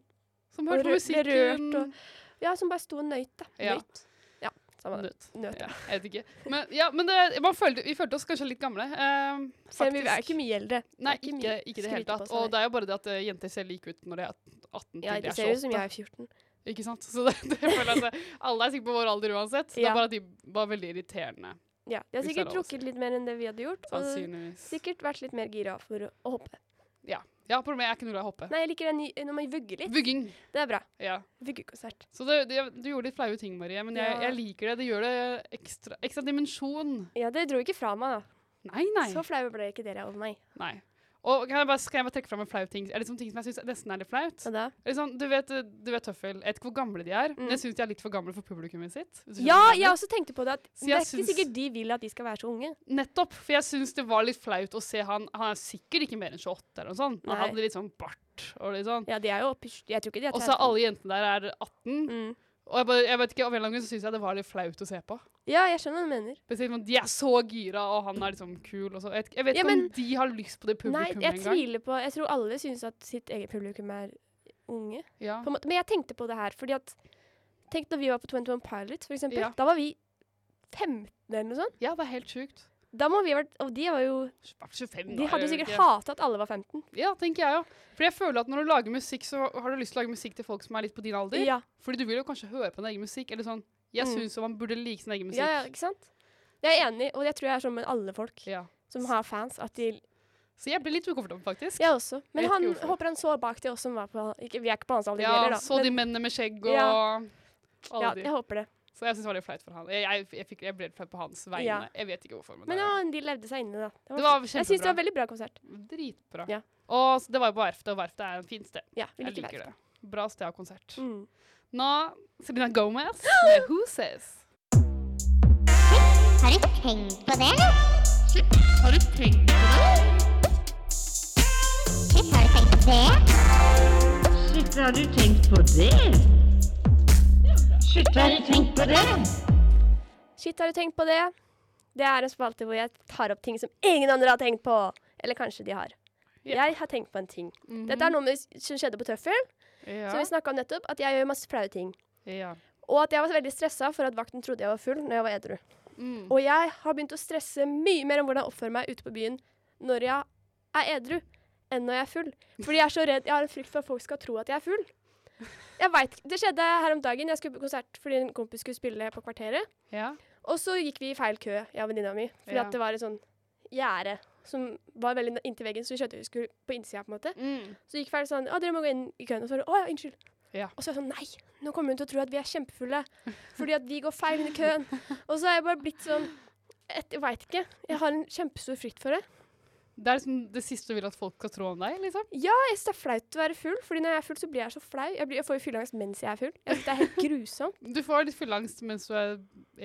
[SPEAKER 3] sånn
[SPEAKER 2] Som
[SPEAKER 3] Og
[SPEAKER 2] hørte på
[SPEAKER 3] rø- berørt
[SPEAKER 2] musikken.
[SPEAKER 3] og- Ja, som bare sto og nøyt, da.
[SPEAKER 2] Ja.
[SPEAKER 3] Nøyt. Ja, samme det.
[SPEAKER 2] Nøt.
[SPEAKER 3] Nøt.
[SPEAKER 2] Ja, jeg vet ikke. Men, ja, men det, man følte, vi følte oss kanskje litt gamle. eh,
[SPEAKER 3] Selv om vi er
[SPEAKER 2] faktisk.
[SPEAKER 3] ikke mye eldre.
[SPEAKER 2] Nei,
[SPEAKER 3] Det er
[SPEAKER 2] ikke,
[SPEAKER 3] mye
[SPEAKER 2] ikke i det
[SPEAKER 3] skryt
[SPEAKER 2] hele tatt.
[SPEAKER 3] på seg,
[SPEAKER 2] Og
[SPEAKER 3] nei.
[SPEAKER 2] det er jo bare det at eh, jenter ser like ut når de er 18 til
[SPEAKER 3] ja,
[SPEAKER 2] de
[SPEAKER 3] det
[SPEAKER 2] er
[SPEAKER 3] ser ut som
[SPEAKER 2] 28.
[SPEAKER 3] jeg er 14.
[SPEAKER 2] Ikke sant? Så det, det *laughs* føler jeg seg, Alle er sikkert på vår alder uansett. Det
[SPEAKER 3] Ja.
[SPEAKER 2] er bare at de var veldig irriterende.
[SPEAKER 3] Ja, De
[SPEAKER 2] Hvis det
[SPEAKER 3] har
[SPEAKER 2] er
[SPEAKER 3] sikkert
[SPEAKER 2] lov å si.
[SPEAKER 3] drukket litt mer enn det vi hadde gjort. Og
[SPEAKER 2] Sannsynligvis.
[SPEAKER 3] sikkert vært litt mer gira for å, å hoppe.
[SPEAKER 2] Ja, problemet er jeg er ikke noe glad i å hoppe.
[SPEAKER 3] Nei, jeg liker den ny- når man vugger litt.
[SPEAKER 2] Vugging.
[SPEAKER 3] Det er bra.
[SPEAKER 2] Ja.
[SPEAKER 3] Vuggekonsert.
[SPEAKER 2] Så det, det, du gjorde litt flaue ting, Marie, men jeg,
[SPEAKER 3] Ja.
[SPEAKER 2] jeg liker det. Det gjør det ekstra, ekstra dimensjon.
[SPEAKER 3] Ja, det dro ikke fra meg, da.
[SPEAKER 2] Nei, nei.
[SPEAKER 3] Så flaue ble ikke dere over meg.
[SPEAKER 2] nei. Og kan jeg bare, kan jeg bare trekke fram en flau ting? Er det sånn ting som jeg syns nesten er litt flaut?
[SPEAKER 3] Hva da?
[SPEAKER 2] Eller sånn, du vet, du vet tøffel. Jeg vet ikke hvor gamle de er, men jeg syns de er litt for gamle for publikummet sitt. hvis du skjønner
[SPEAKER 3] Mm. Ja,
[SPEAKER 2] hva jeg
[SPEAKER 3] jeg
[SPEAKER 2] mener.
[SPEAKER 3] også tenkte på det. At
[SPEAKER 2] Så
[SPEAKER 3] det
[SPEAKER 2] jeg
[SPEAKER 3] er ikke
[SPEAKER 2] syns-
[SPEAKER 3] sikkert de vil at de skal være så unge.
[SPEAKER 2] Nettopp. For jeg syns det var litt flaut å se han. Han er sikkert ikke mer enn 28 eller noe sånt. men Han
[SPEAKER 3] Nei.
[SPEAKER 2] hadde litt sånn bart og litt sånn.
[SPEAKER 3] Ja, de er jo oppi Jeg tror ikke de er
[SPEAKER 2] Og så
[SPEAKER 3] 30.
[SPEAKER 2] er alle jentene der er 18.
[SPEAKER 3] Mm.
[SPEAKER 2] Og jeg, bare, jeg vet ikke, av en eller annen grunn så syns jeg det var litt flaut å se på.
[SPEAKER 3] Ja, jeg skjønner hva du mener.
[SPEAKER 2] Spesielt når de er så gira, og han er liksom kul og så. Jeg, vet- jeg vet
[SPEAKER 3] Ja,
[SPEAKER 2] ikke
[SPEAKER 3] men-
[SPEAKER 2] om de har lyst på det
[SPEAKER 3] Nei,
[SPEAKER 2] publikummet
[SPEAKER 3] jeg
[SPEAKER 2] engang.
[SPEAKER 3] tviler på Jeg tror alle syns at sitt eget publikum er unge.
[SPEAKER 2] Ja.
[SPEAKER 3] På en måte. Men jeg tenkte på det her, fordi at Tenk når vi var på 21 Pilots, for eksempel.
[SPEAKER 2] Ja.
[SPEAKER 3] Da var vi 15 eller noe sånt.
[SPEAKER 2] ja, det er helt sjukt.
[SPEAKER 3] Da må vi ha vært Og de var jo
[SPEAKER 2] Bare 25 da,
[SPEAKER 3] De hadde
[SPEAKER 2] jeg
[SPEAKER 3] jo
[SPEAKER 2] vet
[SPEAKER 3] sikkert
[SPEAKER 2] ikke.
[SPEAKER 3] hata at alle var 15.
[SPEAKER 2] Ja, tenker jeg òg. For jeg føler at når du lager musikk, så har du lyst til å lage musikk til folk som er litt på din alder.
[SPEAKER 3] Ja,
[SPEAKER 2] Fordi du vil jo kanskje høre på din egen musikk. Eller sånn Jeg
[SPEAKER 3] Mm.
[SPEAKER 2] syns man burde like sin egen
[SPEAKER 3] ja, ja,
[SPEAKER 2] musikk.
[SPEAKER 3] ikke sant? Jeg er enig, og jeg tror jeg er sånn med alle folk
[SPEAKER 2] Ja.
[SPEAKER 3] som har fans. At de
[SPEAKER 2] Så jeg ble litt ukomfortabel, faktisk.
[SPEAKER 3] Jeg også. Men
[SPEAKER 2] Jeg vet
[SPEAKER 3] han
[SPEAKER 2] ikke hvorfor.
[SPEAKER 3] håper han så bak de også som var på ikke, Vi er ikke på hans alder
[SPEAKER 2] Ja,
[SPEAKER 3] heller, da.
[SPEAKER 2] så de
[SPEAKER 3] men,
[SPEAKER 2] mennene med skjegg og
[SPEAKER 3] Ja.
[SPEAKER 2] alle
[SPEAKER 3] ja,
[SPEAKER 2] de.
[SPEAKER 3] jeg håper det.
[SPEAKER 2] Så jeg syns det var litt flaut for han. Jeg, jeg, jeg, fikk, jeg ble litt flau på hans vegne.
[SPEAKER 3] Ja.
[SPEAKER 2] Jeg vet ikke hvorfor. Men,
[SPEAKER 3] Men
[SPEAKER 2] det,
[SPEAKER 3] ja, de levde seg inne, da. Det var,
[SPEAKER 2] det var
[SPEAKER 3] jeg syns det
[SPEAKER 2] kjempebra.
[SPEAKER 3] var veldig bra konsert.
[SPEAKER 2] Dritbra.
[SPEAKER 3] Ja.
[SPEAKER 2] Og så det var jo på Verftet, og Verftet er en fint sted.
[SPEAKER 3] Ja, vi
[SPEAKER 2] Jeg
[SPEAKER 3] liker
[SPEAKER 2] liker
[SPEAKER 3] det.
[SPEAKER 2] det. Bra sted å ha konsert.
[SPEAKER 3] Mm.
[SPEAKER 2] Nå Selena
[SPEAKER 3] *gasps*
[SPEAKER 2] Gomez med Who Says.
[SPEAKER 5] Har du tenkt på det?
[SPEAKER 4] Har du tenkt på
[SPEAKER 5] Shit, har du tenkt på det?
[SPEAKER 4] Shit, har du tenkt på det? Shit, har du tenkt på det?
[SPEAKER 3] Shit, har du tenkt på det? Det er en spalte hvor jeg tar opp ting som ingen andre har tenkt på. Eller kanskje de har.
[SPEAKER 2] Ja. Mhm.
[SPEAKER 3] Jeg har tenkt på en ting. Dette er noe med, som skjedde på Tøffel, som
[SPEAKER 2] Ja.
[SPEAKER 3] vi snakka om nettopp. At jeg gjør masse flaue ting.
[SPEAKER 2] ja.
[SPEAKER 3] Og at jeg var veldig stressa for at vakten trodde jeg var full når jeg var edru.
[SPEAKER 2] Mm.
[SPEAKER 3] Og jeg har begynt å stresse mye mer om hvordan jeg oppfører meg ute på byen når jeg er edru, enn når jeg er full. Fordi jeg er så redd, jeg har en frykt for at folk skal tro at jeg er full. Jeg vet, ikke- Det skjedde her om dagen. Jeg skulle på konsert fordi en kompis skulle spille på Kvarteret.
[SPEAKER 2] ja.
[SPEAKER 3] Og så gikk vi i feil kø, jeg og venninna mi. Fordi
[SPEAKER 2] Ja.
[SPEAKER 3] at det var et sånn gjerde som var veldig n- inntil veggen, så vi skjønte vi skulle på innsida. på en måte.
[SPEAKER 2] Mm.
[SPEAKER 3] Så gikk feil sånn Å, dere må gå inn i køen. Og så var det Å ja, unnskyld.
[SPEAKER 2] Ja.
[SPEAKER 3] Og så er jeg sånn Nei, nå kommer hun til å tro at vi er kjempefulle fordi at vi går feil inn i
[SPEAKER 2] *laughs*
[SPEAKER 3] køen. Og så har jeg bare blitt sånn et, Jeg veit ikke. Jeg har en kjempestor frykt for det.
[SPEAKER 2] Det er liksom det siste du vil at folk skal tro om deg, liksom.
[SPEAKER 3] Jeg syns det er flaut å være full, fordi når jeg er full, så blir jeg så flau. Jeg, blir, jeg får jo fylleangst mens jeg er full. Jeg synes Det er helt grusomt.
[SPEAKER 2] Du får litt fylleangst mens du er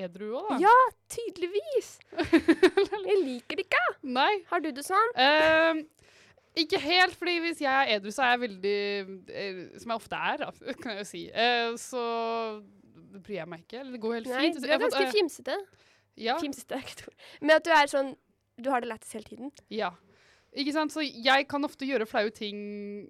[SPEAKER 2] edru òg, da.
[SPEAKER 3] Ja.
[SPEAKER 2] *laughs*
[SPEAKER 3] Tydeligvis. Jeg liker det ikke.
[SPEAKER 2] Nei.
[SPEAKER 3] Har du det sånn?
[SPEAKER 2] Ehm, ikke helt, fordi hvis jeg er edru, så er jeg veldig eh, Som jeg ofte er, da, *laughs* kan jeg jo si. eh, så bryr jeg meg ikke. Eller det går helt
[SPEAKER 3] Nei,
[SPEAKER 2] fint.
[SPEAKER 3] du
[SPEAKER 2] Jeg
[SPEAKER 3] er
[SPEAKER 2] har fått,
[SPEAKER 3] ganske
[SPEAKER 2] eh,
[SPEAKER 3] fjimsete.
[SPEAKER 2] Ja,
[SPEAKER 3] Fimsete er ikke et ord. Men at du er sånn Du har det lættis hele tiden.
[SPEAKER 2] ja. Ikke sant? Så jeg kan ofte gjøre flaue ting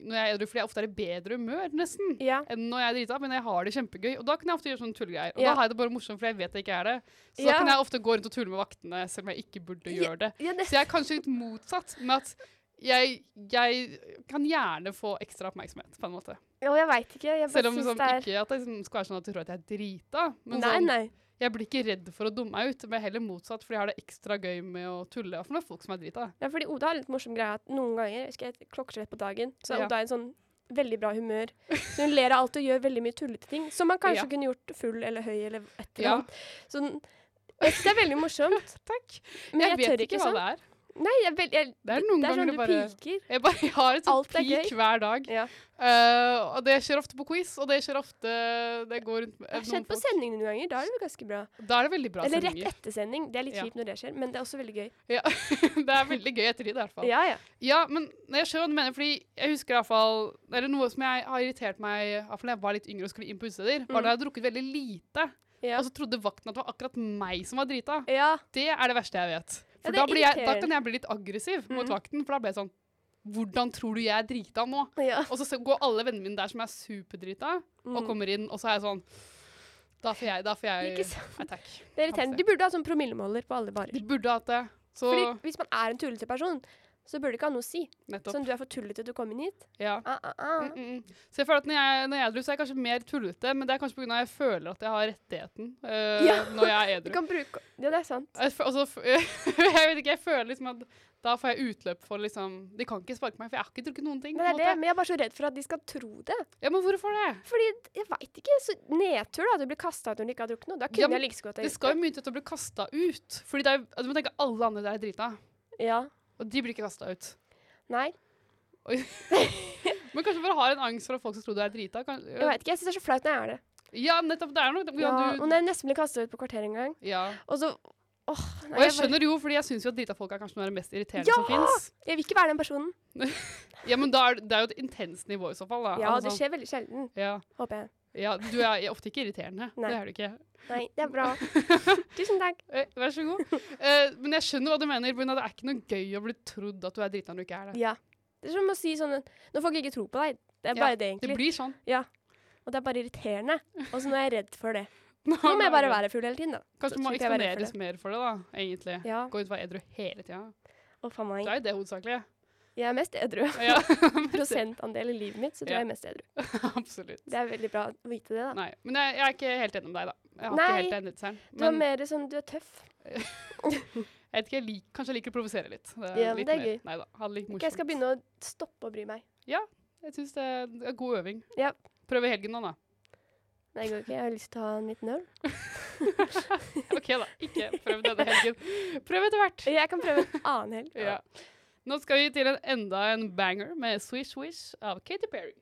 [SPEAKER 2] når jeg er edru, fordi jeg ofte er i bedre humør, nesten.
[SPEAKER 3] Ja.
[SPEAKER 2] Enn når jeg er drita, men jeg har det kjempegøy. Og da kan jeg ofte gjøre sånne tullegreier. Og
[SPEAKER 3] Ja.
[SPEAKER 2] da har jeg det bare morsomt, fordi jeg vet jeg ikke er det. Så
[SPEAKER 3] Ja.
[SPEAKER 2] da kan jeg ofte gå rundt og tulle med vaktene, selv om jeg ikke burde
[SPEAKER 3] Ja.
[SPEAKER 2] gjøre det.
[SPEAKER 3] Ja, det,
[SPEAKER 2] Så jeg er kanskje litt motsatt med at jeg, jeg kan gjerne få ekstra oppmerksomhet, på en måte.
[SPEAKER 3] og jeg veit ikke. Jeg
[SPEAKER 2] Selv
[SPEAKER 3] bare
[SPEAKER 2] om
[SPEAKER 3] syns
[SPEAKER 2] liksom,
[SPEAKER 3] det er
[SPEAKER 2] ikke at jeg liksom, skal være sånn at du tror at jeg er drita. Men
[SPEAKER 3] Nei,
[SPEAKER 2] sånn,
[SPEAKER 3] nei.
[SPEAKER 2] jeg blir ikke redd for å dumme meg ut, men heller motsatt, fordi jeg har det ekstra gøy med å tulle. Iallfall med folk som er drita.
[SPEAKER 3] Ja, fordi Oda har en litt morsom greie at noen ganger jeg husker jeg klokkeslett på dagen, så er
[SPEAKER 2] Ja.
[SPEAKER 3] Oda i en sånn veldig bra humør. Så hun ler av alt og gjør veldig mye tullete ting som man kanskje
[SPEAKER 2] Ja.
[SPEAKER 3] kunne gjort full eller høy eller et eller
[SPEAKER 2] Ja.
[SPEAKER 3] annet. Sånn, jeg syns det er veldig morsomt,
[SPEAKER 2] *laughs* Takk.
[SPEAKER 3] men jeg,
[SPEAKER 2] jeg vet
[SPEAKER 3] tør
[SPEAKER 2] ikke
[SPEAKER 3] ikke
[SPEAKER 2] hva
[SPEAKER 3] sånn.
[SPEAKER 2] det er.
[SPEAKER 3] Nei, jeg, er veld- jeg,
[SPEAKER 2] Det er noen
[SPEAKER 3] det er
[SPEAKER 2] ganger
[SPEAKER 3] sånn
[SPEAKER 2] det
[SPEAKER 3] du
[SPEAKER 2] bare
[SPEAKER 3] piker.
[SPEAKER 2] Jeg bare jeg har et
[SPEAKER 3] Alt
[SPEAKER 2] sånt
[SPEAKER 3] er
[SPEAKER 2] peak
[SPEAKER 3] gøy.
[SPEAKER 2] hver dag.
[SPEAKER 3] Ja.
[SPEAKER 2] Eh, og det skjer ofte på quiz, og det skjer ofte Det går rundt med
[SPEAKER 3] Det har
[SPEAKER 2] noen
[SPEAKER 3] skjedd på
[SPEAKER 2] folk-
[SPEAKER 3] sending noen ganger. Da er det jo ganske bra.
[SPEAKER 2] Da er det veldig bra
[SPEAKER 3] Eller rett
[SPEAKER 2] sendinger.
[SPEAKER 3] etter sending. Det er litt
[SPEAKER 2] Ja.
[SPEAKER 3] kjipt når det skjer, men det er også veldig gøy.
[SPEAKER 2] Ja. *laughs* det er veldig gøy etter det, i hvert fall.
[SPEAKER 3] Ja, ja.
[SPEAKER 2] Ja, men jeg skjønner hva du mener, fordi jeg husker i hvert fall, eller noe som jeg har irritert meg, i hvert fall da jeg var litt yngre og skulle inn på utesteder, var
[SPEAKER 3] Mm.
[SPEAKER 2] da jeg hadde drukket veldig lite,
[SPEAKER 3] Ja.
[SPEAKER 2] og så trodde vakten at det var akkurat meg som var drita.
[SPEAKER 3] ja.
[SPEAKER 2] Det er det verste jeg vet.
[SPEAKER 3] Ja,
[SPEAKER 2] For
[SPEAKER 3] det
[SPEAKER 2] da, blir jeg, da
[SPEAKER 3] irriterer.
[SPEAKER 2] kan jeg bli litt aggressiv mot
[SPEAKER 3] Mhm.
[SPEAKER 2] vakten, for da blir jeg sånn, hvordan tror du jeg er drita nå?
[SPEAKER 3] ja.
[SPEAKER 2] Og så se- går alle vennene mine der som er superdrita, og
[SPEAKER 3] Mm.
[SPEAKER 2] kommer inn, og så er jeg sånn, da får jeg, da får
[SPEAKER 3] Ikke
[SPEAKER 2] jeg,
[SPEAKER 3] sant?
[SPEAKER 2] nei takk.
[SPEAKER 3] Det er irriterende. De burde ha sånn promillemåler på alle barer.
[SPEAKER 2] De burde hatt det, så
[SPEAKER 3] Fordi hvis man er en tullete person, så burde det ikke ha noe å si.
[SPEAKER 2] nettopp,
[SPEAKER 3] Sånn du er for tullete til å komme inn hit.
[SPEAKER 2] ja.
[SPEAKER 3] Ah, ah, ah.
[SPEAKER 2] Mm, mm. Så jeg føler at når jeg, når jeg er edru, så er jeg kanskje mer tullete, men det er kanskje på grunn av at jeg føler at jeg har rettigheten eh,
[SPEAKER 3] Ja.
[SPEAKER 2] når
[SPEAKER 3] *laughs*
[SPEAKER 2] jeg er
[SPEAKER 3] Du
[SPEAKER 2] edru.
[SPEAKER 3] kan bruke Ja, det er sant.
[SPEAKER 2] Jeg, fø- *laughs* altså, f- jeg vet ikke, jeg føler liksom at da får jeg utløp for liksom De kan ikke sparke meg, for jeg har ikke drukket noen ting.
[SPEAKER 3] Men,
[SPEAKER 2] på
[SPEAKER 3] det er det.
[SPEAKER 2] en måte.
[SPEAKER 3] men jeg er bare så redd for at de skal tro det.
[SPEAKER 2] Ja, men hvorfor det?
[SPEAKER 3] Fordi jeg veit ikke. Så nedtur, da. Du blir kasta ut når du ikke har drukket noe. Da kunne
[SPEAKER 2] Ja, men
[SPEAKER 3] jeg like så godt ha
[SPEAKER 2] Det
[SPEAKER 3] gjort
[SPEAKER 2] skal jo mye til at du blir altså, kasta ut. Fordi det er, jo- du må tenke alle andre der er drita,
[SPEAKER 3] Ja.
[SPEAKER 2] og de blir ikke kasta ut.
[SPEAKER 3] Nei.
[SPEAKER 2] Men kanskje bare har en angst for at folk skal tro du er drita. Kan,
[SPEAKER 3] Jeg vet ikke, jeg syns det er så flaut når jeg er det.
[SPEAKER 2] Ja, nettopp. Det er noe
[SPEAKER 3] Ja,
[SPEAKER 2] ja,
[SPEAKER 3] og
[SPEAKER 2] du,
[SPEAKER 3] når jeg nesten ble kasta ut på kvarteret en gang.
[SPEAKER 2] ja.
[SPEAKER 3] Og så åh, nei,
[SPEAKER 2] Og jeg
[SPEAKER 3] bare-
[SPEAKER 2] skjønner jo, fordi jeg syns jo at drita folk er kanskje noe av det mest irriterende
[SPEAKER 3] Ja!
[SPEAKER 2] som fins.
[SPEAKER 3] Jeg vil ikke være den personen.
[SPEAKER 2] Ja, men da er, det- det er jo et intenst nivå i så fall. Da.
[SPEAKER 3] Ja,
[SPEAKER 2] Altså,
[SPEAKER 3] det skjer veldig sjelden,
[SPEAKER 2] ja,
[SPEAKER 3] håper jeg.
[SPEAKER 2] ja, du er ofte ikke irriterende.
[SPEAKER 3] Nei.
[SPEAKER 2] Det er du ikke.
[SPEAKER 3] Nei, det er bra.
[SPEAKER 2] *laughs*
[SPEAKER 3] Tusen takk.
[SPEAKER 2] Eh, Vær så god. Eh, men jeg skjønner hva du mener. Bruna. Det er ikke noe gøy å bli trodd at du er drita når du ikke er det.
[SPEAKER 3] Ja. Det er som å si sånn Når folk ikke tror på deg, det er
[SPEAKER 2] Ja,
[SPEAKER 3] bare det,
[SPEAKER 2] Det
[SPEAKER 3] egentlig.
[SPEAKER 2] blir sånn.
[SPEAKER 3] Og det er bare irriterende. Og så nå er jeg redd for
[SPEAKER 2] *laughs*
[SPEAKER 3] det. Nå må jeg bare være full hele tiden, da.
[SPEAKER 2] Kanskje
[SPEAKER 3] så
[SPEAKER 2] man må
[SPEAKER 3] slipper jeg å være redd for
[SPEAKER 2] eksponeres mer for det, da, egentlig.
[SPEAKER 3] Ja.
[SPEAKER 2] Gå ut og være edru hele tida.
[SPEAKER 3] Å, faen
[SPEAKER 2] Det
[SPEAKER 3] meg.
[SPEAKER 2] er jo det
[SPEAKER 3] *laughs*
[SPEAKER 2] hovedsakelig.
[SPEAKER 3] Jeg er mest edru.
[SPEAKER 2] *laughs* Ja,
[SPEAKER 3] Prosentandel i livet mitt, så tror jeg
[SPEAKER 2] Ja.
[SPEAKER 3] jeg er mest edru.
[SPEAKER 2] absolutt.
[SPEAKER 3] Det er veldig bra å vite det, da.
[SPEAKER 2] Nei. Men jeg, jeg er ikke helt enig med deg, da. Jeg har
[SPEAKER 3] Nei.
[SPEAKER 2] ikke helt den redselen.
[SPEAKER 3] Du er
[SPEAKER 2] Men
[SPEAKER 3] mer sånn Du er tøff.
[SPEAKER 2] jeg vet ikke, jeg lik, kanskje jeg liker å provosere litt. Det
[SPEAKER 3] Ja, men
[SPEAKER 2] litt
[SPEAKER 3] det er
[SPEAKER 2] mer.
[SPEAKER 3] gøy.
[SPEAKER 2] Nei da. Ha det litt morsomt.
[SPEAKER 3] Jeg skal begynne å stoppe å bry meg.
[SPEAKER 2] Jeg syns det er det er god øving.
[SPEAKER 3] Ja.
[SPEAKER 2] Prøv i helgen nå,
[SPEAKER 3] *laughs*
[SPEAKER 2] da. *laughs*
[SPEAKER 3] Nei, det går ikke. Jeg har lyst til å ta en liten øl.
[SPEAKER 2] OK, da. Ikke prøv denne helgen. Prøv etter hvert.
[SPEAKER 3] Jeg kan prøve
[SPEAKER 2] *laughs*
[SPEAKER 3] en annen helg.
[SPEAKER 2] Ja. Nå skal vi til en enda en banger med Swish Swish av Katy Perry.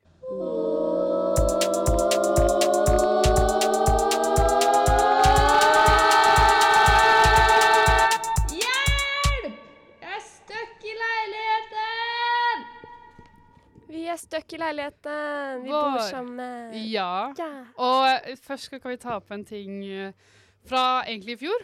[SPEAKER 3] Vi er stuck i leiligheten. Vi
[SPEAKER 2] Vår.
[SPEAKER 3] bor sammen.
[SPEAKER 2] Ja.
[SPEAKER 3] Eh, Ja.
[SPEAKER 2] Og eh, først skal- kan vi ta opp en ting eh, fra egentlig i fjor.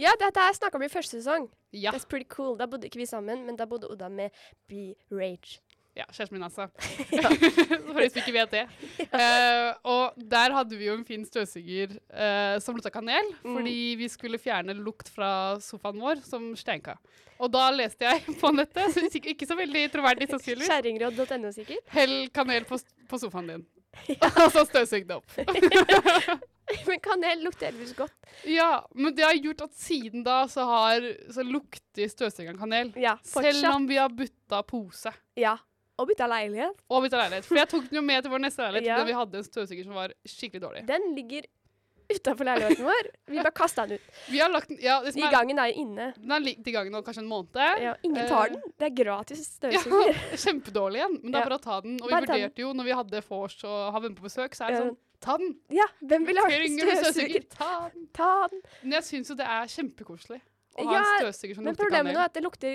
[SPEAKER 3] ja, dette her snakka vi i første sesong.
[SPEAKER 2] Ja.
[SPEAKER 3] That's pretty cool. Da bodde ikke vi sammen, men da bodde Oda med B-Rage.
[SPEAKER 2] ja kjæresten min,
[SPEAKER 3] *laughs*
[SPEAKER 2] altså. *laughs* For de som ikke vet det. Eh, og der hadde vi jo en fin støvsuger eh, som lukta kanel,
[SPEAKER 3] Mm.
[SPEAKER 2] fordi vi skulle fjerne lukt fra sofaen vår som steinka. Og da leste jeg på nettet, så ikke, ikke så veldig troverdig sannsynligvis,
[SPEAKER 3] Kjerringråd.no, sikkert. *laughs*
[SPEAKER 2] Hell kanel på, på sofaen din. Og så støvsug det opp.
[SPEAKER 3] Men kanel lukter heldigvis godt.
[SPEAKER 2] Ja, men det har gjort at siden da så, har, så lukter støvsugeren kanel.
[SPEAKER 3] Ja,
[SPEAKER 2] Selv
[SPEAKER 3] fortsatt.
[SPEAKER 2] om vi har bytta pose
[SPEAKER 3] Ja. Og bytta leilighet.
[SPEAKER 2] og bytta leilighet. For jeg tok den jo med til vår neste leilighet
[SPEAKER 3] Ja.
[SPEAKER 2] fordi vi hadde en støvsuger som var skikkelig dårlig.
[SPEAKER 3] Den ligger utafor leiligheten vår. Vi bare kasta
[SPEAKER 2] *laughs*
[SPEAKER 3] den ut.
[SPEAKER 2] Vi har lagt den, ja, det som
[SPEAKER 3] I
[SPEAKER 2] er,
[SPEAKER 3] gangen er inne.
[SPEAKER 2] den har ligget i gangen nå kanskje en måned.
[SPEAKER 3] Ja, ingen tar
[SPEAKER 2] Eh,
[SPEAKER 3] den. Det er gratis
[SPEAKER 2] Ja, *laughs*
[SPEAKER 3] støvsuger. *laughs*
[SPEAKER 2] kjempedårlig igjen, men det
[SPEAKER 3] Ja.
[SPEAKER 2] er bare å ta den. Og vi
[SPEAKER 3] Bare ta den.
[SPEAKER 2] vurderte jo, når vi hadde vors og har venner på besøk, så er det
[SPEAKER 3] Ja.
[SPEAKER 2] sånn Ta den!
[SPEAKER 3] Ja, hvem vil ha
[SPEAKER 2] Trenger du
[SPEAKER 3] støvsuger?
[SPEAKER 2] støvsuger? Ta den!
[SPEAKER 3] Ta den.
[SPEAKER 2] Men jeg syns jo det er kjempekoselig å ha en
[SPEAKER 3] Ja,
[SPEAKER 2] støvsuger som
[SPEAKER 3] Men
[SPEAKER 2] lukter
[SPEAKER 3] problemet
[SPEAKER 2] kanel.
[SPEAKER 3] nå er at det lukter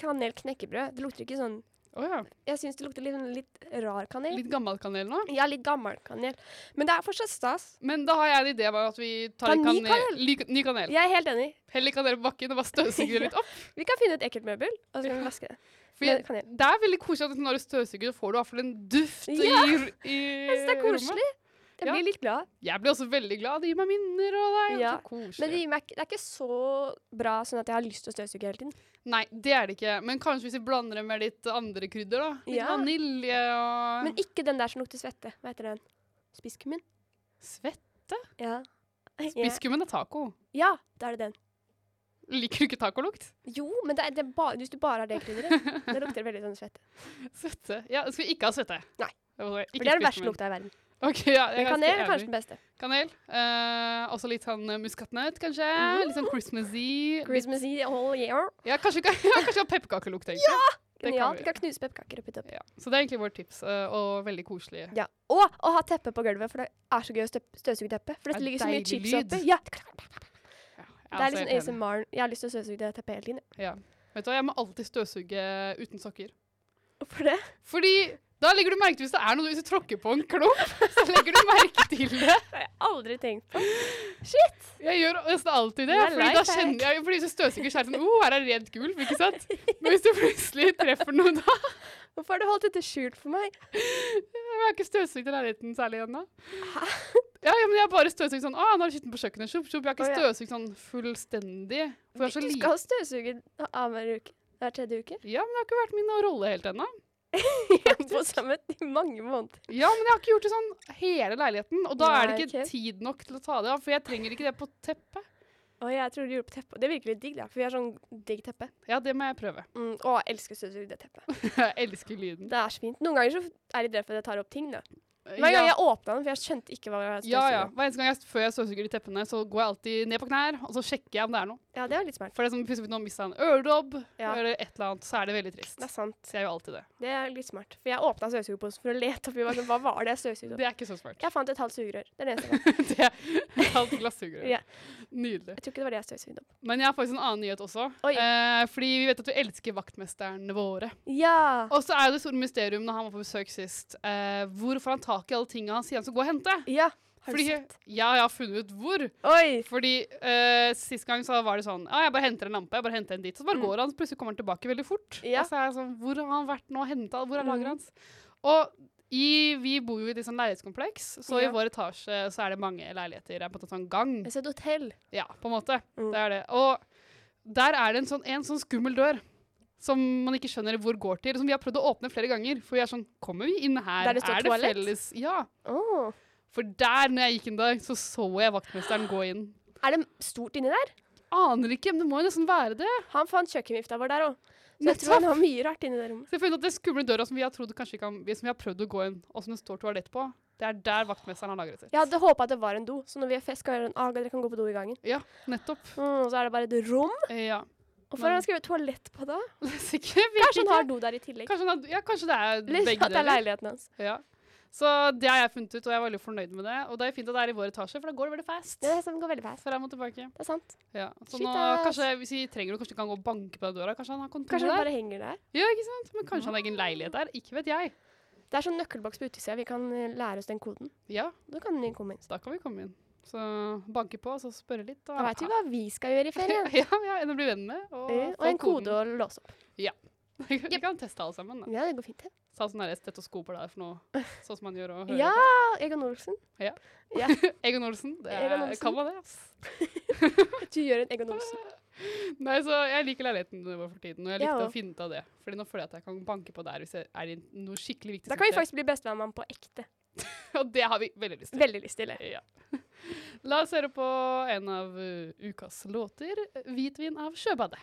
[SPEAKER 3] kanelknekkebrød. Det lukter ikke sånn
[SPEAKER 2] Å ja.
[SPEAKER 3] Jeg syns det lukter litt, sånn litt rar kanel.
[SPEAKER 2] Litt gammel kanel nå.
[SPEAKER 3] Ja, litt gammel kanel. Men det er fortsatt stas.
[SPEAKER 2] Men da har jeg en idé om at vi tar
[SPEAKER 3] Ta
[SPEAKER 2] en
[SPEAKER 3] ny
[SPEAKER 2] kanel,
[SPEAKER 3] kanel.
[SPEAKER 2] ly- ny kanel.
[SPEAKER 3] Jeg er helt enig.
[SPEAKER 2] Heller kanel på bakken og bare
[SPEAKER 3] *laughs*
[SPEAKER 2] støvsuger det litt opp.
[SPEAKER 3] Vi kan finne et ekkelt møbel, og så kan vi vaske det.
[SPEAKER 2] For
[SPEAKER 3] Med
[SPEAKER 2] jeg,
[SPEAKER 3] kanel.
[SPEAKER 2] det er veldig koselig at når du støvsuger, så får du i hvert fall en duft
[SPEAKER 3] Ja,
[SPEAKER 2] i, i
[SPEAKER 3] Jeg syns det er
[SPEAKER 2] rommet.
[SPEAKER 3] koselig. Jeg
[SPEAKER 2] Eh, Ja.
[SPEAKER 3] blir litt glad.
[SPEAKER 2] Jeg blir også veldig glad. Det gir meg minner, og det er jo
[SPEAKER 3] Ja,
[SPEAKER 2] så koselig.
[SPEAKER 3] Men det, gir meg, ikke- det er ikke så bra sånn at jeg har lyst til å støvsuge hele tiden.
[SPEAKER 2] Nei, det er det ikke. Men kanskje hvis vi blander det med litt andre krydder, da. Litt
[SPEAKER 3] Ja.
[SPEAKER 2] vanilje og
[SPEAKER 3] Men ikke den der som lukter svette. Hva heter den? Spisskummen?
[SPEAKER 2] Svett?
[SPEAKER 3] Ja.
[SPEAKER 2] Biskummen er taco.
[SPEAKER 3] Ja, da er det den.
[SPEAKER 2] Liker du ikke tacolukt?
[SPEAKER 3] Jo, men det er, det er ba, hvis du bare har det krydderet,
[SPEAKER 2] *laughs*
[SPEAKER 3] da lukter det veldig sånn svette.
[SPEAKER 2] Svette. Ja, skal vi ikke ha svette?
[SPEAKER 3] Nei.
[SPEAKER 2] Det var- ikke
[SPEAKER 3] For det er den verste
[SPEAKER 2] spiskummen.
[SPEAKER 3] lukta i verden.
[SPEAKER 2] Ok, ja, jeg er
[SPEAKER 3] Men
[SPEAKER 2] ganske
[SPEAKER 3] kanel er
[SPEAKER 2] enig.
[SPEAKER 3] kanskje den beste.
[SPEAKER 2] Kanel. Eh, også litt sånn eh, muskatnøtt, kanskje. Litt sånn Christmassy. Litt-
[SPEAKER 3] Christmas Eve oh, all year.
[SPEAKER 2] Ja, kanskje, *laughs* ja, kanskje ha pepperkakelukt, egentlig. Ja, det kan
[SPEAKER 3] Genialt.
[SPEAKER 2] vi.
[SPEAKER 3] Du kan knuse pepperkaker og putte oppi.
[SPEAKER 2] Ja. Så det er egentlig vårt tips, eh, og veldig koselig.
[SPEAKER 3] Ja. Og å ha teppe på gulvet, for det er så gøy å støp- støvsuge teppet. For
[SPEAKER 2] Det
[SPEAKER 3] det
[SPEAKER 2] er
[SPEAKER 3] ligger så mye
[SPEAKER 2] deilig
[SPEAKER 3] chips
[SPEAKER 2] lyd.
[SPEAKER 3] oppi. Ja.
[SPEAKER 2] Ja, jeg
[SPEAKER 3] Det er
[SPEAKER 2] også
[SPEAKER 3] liksom
[SPEAKER 2] helt enig.
[SPEAKER 3] ASMR. Jeg har lyst til å støvsuge det teppet hele tiden.
[SPEAKER 2] Ja. Vet du hva, jeg må alltid støvsuge uten sokker.
[SPEAKER 3] Hvorfor det?
[SPEAKER 2] Fordi da legger du merke til hvis det er noe, hvis du tråkker på en klump, så legger du merke til det.
[SPEAKER 3] Det har jeg aldri tenkt på.
[SPEAKER 2] Jeg gjør nesten alltid det,
[SPEAKER 3] Det er
[SPEAKER 2] fordi da
[SPEAKER 3] lifehack.
[SPEAKER 2] kjenner jeg, fordi hvis du støvsuger, så er det sånn, oh, her er det rent gulv, ikke sant? Men hvis du plutselig treffer noe da,
[SPEAKER 3] Hvorfor har du holdt dette skjult for meg?
[SPEAKER 2] Jeg har ikke støvsugd i leiligheten særlig ennå. Ja, ja, men jeg har bare støvsugd sånn Å, nå har du skitten på kjøkkenet. Sjopp, sjopp. Jeg har ikke
[SPEAKER 3] Å, ja.
[SPEAKER 2] støvsugd sånn fullstendig. For jeg er så
[SPEAKER 3] Du
[SPEAKER 2] lite.
[SPEAKER 3] skal støvsuge annenhver uke. Hver tredje uke.
[SPEAKER 2] Ja, men det har ikke vært min rolle helt ennå.
[SPEAKER 3] På samme i mange måneder.
[SPEAKER 2] Ja, men jeg har ikke gjort det sånn hele leiligheten. Og da er det
[SPEAKER 3] Nei,
[SPEAKER 2] ikke
[SPEAKER 3] ok.
[SPEAKER 2] tid nok til å ta det av, for jeg trenger ikke det på teppet.
[SPEAKER 3] Og jeg tror du gjorde på teppet. Det er virkelig digg, da. For vi har sånn digg teppe.
[SPEAKER 2] Ja, det må jeg prøve.
[SPEAKER 3] Mm, å, jeg elsker støvsugd det teppet.
[SPEAKER 2] *laughs* Jeg elsker lyden.
[SPEAKER 3] Det er så fint. Noen ganger så er jeg redd for at jeg tar opp ting, da. Hver gang jeg åpna den, for jeg skjønte ikke hva det var.
[SPEAKER 2] ja, ja. Hver eneste gang jeg, før jeg støvsuger i teppene, så går jeg alltid ned på knær, og så sjekker jeg om det er noe.
[SPEAKER 3] ja, det var litt smart.
[SPEAKER 2] For det er sånn, plutselig hvis noen mista en øredobb
[SPEAKER 3] Ja.
[SPEAKER 2] eller et eller annet, så er det veldig trist.
[SPEAKER 3] Det er sant.
[SPEAKER 2] Så jeg gjør alltid det.
[SPEAKER 3] Det er litt smart. For jeg åpna støvsugerposen for å lete oppi hva som- hva var det jeg støvsugde opp.
[SPEAKER 2] Det er ikke så smart.
[SPEAKER 3] Jeg fant et halvt sugerør. Det er det eneste jeg fant.
[SPEAKER 2] *laughs* det er et halvt glasssugerør.
[SPEAKER 3] Ja.
[SPEAKER 2] Nydelig.
[SPEAKER 3] Jeg tror ikke det var det jeg støvsugde opp.
[SPEAKER 2] Men jeg har faktisk en annen nyhet også.
[SPEAKER 3] Oi.
[SPEAKER 2] Eh, fordi vi vet at du elsker vaktmesterne våre.
[SPEAKER 3] Ja!
[SPEAKER 2] Og så er jo det store mysterium når han var på besøk sist, eh, hvor får han tak i alle tinga han sier han skal gå og hente?
[SPEAKER 3] Ja. Har du
[SPEAKER 2] Fordi
[SPEAKER 3] sett?
[SPEAKER 2] ja, jeg har funnet ut hvor.
[SPEAKER 3] Oi!
[SPEAKER 2] Fordi eh, sist gang så var det sånn Ja, jeg bare henter en lampe, jeg bare henter en dit. Så bare
[SPEAKER 3] Mm.
[SPEAKER 2] går han, så plutselig kommer han tilbake veldig fort.
[SPEAKER 3] Ja.
[SPEAKER 2] Og så er jeg sånn Hvor har han vært nå? Henta? Hvor er
[SPEAKER 3] Mm.
[SPEAKER 2] lageret hans? Og i, vi bor jo i et litt sånn leilighetskompleks, så
[SPEAKER 3] Ja.
[SPEAKER 2] i vår etasje så er det mange leiligheter. Det er på en måte sånn gang.
[SPEAKER 3] Jeg så et hotell.
[SPEAKER 2] Ja, på en måte.
[SPEAKER 3] Mm.
[SPEAKER 2] Det er det. Og der er det en sånn, en sånn skummel dør. Som man ikke skjønner hvor går til. Som vi har prøvd å åpne flere ganger. For vi er sånn Kommer vi inn her?
[SPEAKER 3] Der det står
[SPEAKER 2] er det
[SPEAKER 3] toalett?
[SPEAKER 2] felles Ja.
[SPEAKER 3] Åh.
[SPEAKER 2] For der, når jeg gikk inn der, så så jeg vaktmesteren gå inn.
[SPEAKER 3] Er det stort inni der?
[SPEAKER 2] Aner ikke, men det må jo nesten være det.
[SPEAKER 3] Han fant kjøkkenvifta vår der òg. Så jeg tror han har mye rart inni det rommet.
[SPEAKER 2] Så jeg har funnet at det skumle døra som vi har trodd kanskje ikke kan, som vi har prøvd å gå inn, og som det står toalett på, det er der vaktmesteren har lagret sitt.
[SPEAKER 3] Jeg hadde håpa at det var en do, så når vi har fest, kan vi gjøre en ah, dere kan gå på do i gangen.
[SPEAKER 2] Ja, nettopp.
[SPEAKER 3] Mm, og så er det bare et rom.
[SPEAKER 2] Eh, Ja. *laughs*
[SPEAKER 3] Hvorfor har han skrevet toalett på da?
[SPEAKER 2] Sikkert, vet
[SPEAKER 3] Kanskje han
[SPEAKER 2] ikke.
[SPEAKER 3] har do der i tillegg.
[SPEAKER 2] Kanskje, han har- ja, kanskje det er
[SPEAKER 3] Eller
[SPEAKER 2] begge
[SPEAKER 3] at det er
[SPEAKER 2] deler.
[SPEAKER 3] leiligheten hans.
[SPEAKER 2] Ja. Så det har jeg funnet ut, og jeg er veldig fornøyd med det. Og det er fint at det er i vår etasje, for da går det veldig fast.
[SPEAKER 3] Det er som går veldig fast.
[SPEAKER 2] Fram og tilbake.
[SPEAKER 3] Det er sant.
[SPEAKER 2] Ja. Så
[SPEAKER 3] Shit,
[SPEAKER 2] nå,
[SPEAKER 3] ass.
[SPEAKER 2] kanskje, hvis vi trenger det, kanskje vi kan gå og banke på den døra. Kanskje han har kontor
[SPEAKER 3] Kanskje han
[SPEAKER 2] der?
[SPEAKER 3] bare henger der.
[SPEAKER 2] Ja, ikke sant? Men kanskje han har egen leilighet der? Ikke vet jeg.
[SPEAKER 3] Det er sånn nøkkelboks på utsida. Vi kan eh, lære oss den koden.
[SPEAKER 2] Ja,
[SPEAKER 3] Da kan den komme inn.
[SPEAKER 2] da kan vi komme inn. Så banke på, og så spørre litt. Og
[SPEAKER 3] Da veit vi hva vi skal gjøre i ferien.
[SPEAKER 2] *laughs* ja, ja, en å bli venn med. Og,
[SPEAKER 3] Eh, Og
[SPEAKER 2] få *laughs*
[SPEAKER 3] en kode å låse opp.
[SPEAKER 2] Vi kan- vi kan teste alle sammen. Da.
[SPEAKER 3] Ja, det går fint, det.
[SPEAKER 2] Ta sånn der stetoskoper der for noe,
[SPEAKER 3] *laughs*
[SPEAKER 2] sånn som man gjør og hører.
[SPEAKER 3] Ja, Egon Olsen.
[SPEAKER 2] Egon Olsen. Det er,
[SPEAKER 3] Egon Olsen.
[SPEAKER 2] Kan man det, ass.
[SPEAKER 3] Du gjør en Egon Olsen.
[SPEAKER 2] Nei, så jeg liker leiligheten vår for tiden, og jeg
[SPEAKER 3] Jeg
[SPEAKER 2] likte å
[SPEAKER 3] også.
[SPEAKER 2] finne ut av det. Fordi nå føler jeg at jeg kan banke på der hvis jeg er i noe skikkelig viktig.
[SPEAKER 3] Da kan
[SPEAKER 2] som
[SPEAKER 3] vi
[SPEAKER 2] skjer.
[SPEAKER 3] faktisk bli bestevenn med ham på ekte.
[SPEAKER 2] Og det har vi veldig lyst til.
[SPEAKER 3] Veldig lyst til det.
[SPEAKER 2] Ja. La oss høre på en av uh, ukas låter, 'Hvitvin av sjøbadet'.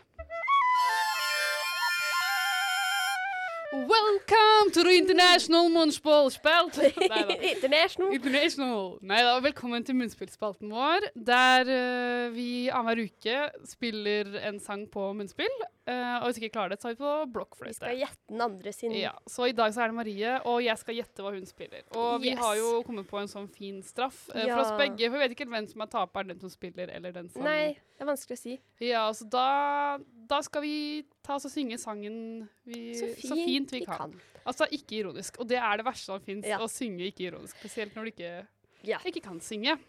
[SPEAKER 2] Welcome to the international
[SPEAKER 3] *laughs*
[SPEAKER 2] munnspålspelt! Nei da.
[SPEAKER 3] International.
[SPEAKER 2] International! Nei da, velkommen til munnspillspalten vår, der eh, vi annenhver uke spiller en sang på munnspill. eh, og hvis ikke klarer det, så har vi på
[SPEAKER 3] Vi
[SPEAKER 2] blokkfløyte.
[SPEAKER 3] skal gjette den andre sin.
[SPEAKER 2] Ja, så i dag så er det Marie, og jeg skal gjette hva hun spiller. Og vi
[SPEAKER 3] Yes.
[SPEAKER 2] har jo kommet på en sånn fin straff eh, for
[SPEAKER 3] Ja.
[SPEAKER 2] oss begge, for vi vet ikke hvem som er taperen, den som spiller, eller den som
[SPEAKER 3] Nei, det er vanskelig å si.
[SPEAKER 2] Ja, så da, da skal vi ta oss og synge sangen vi, så, fint vi kan. Altså ikke ironisk. Og det er det verste som fins,
[SPEAKER 3] Ja.
[SPEAKER 2] å synge ikke ironisk. Spesielt når du ikke,
[SPEAKER 3] Ja. Mm.
[SPEAKER 2] ikke kan synge.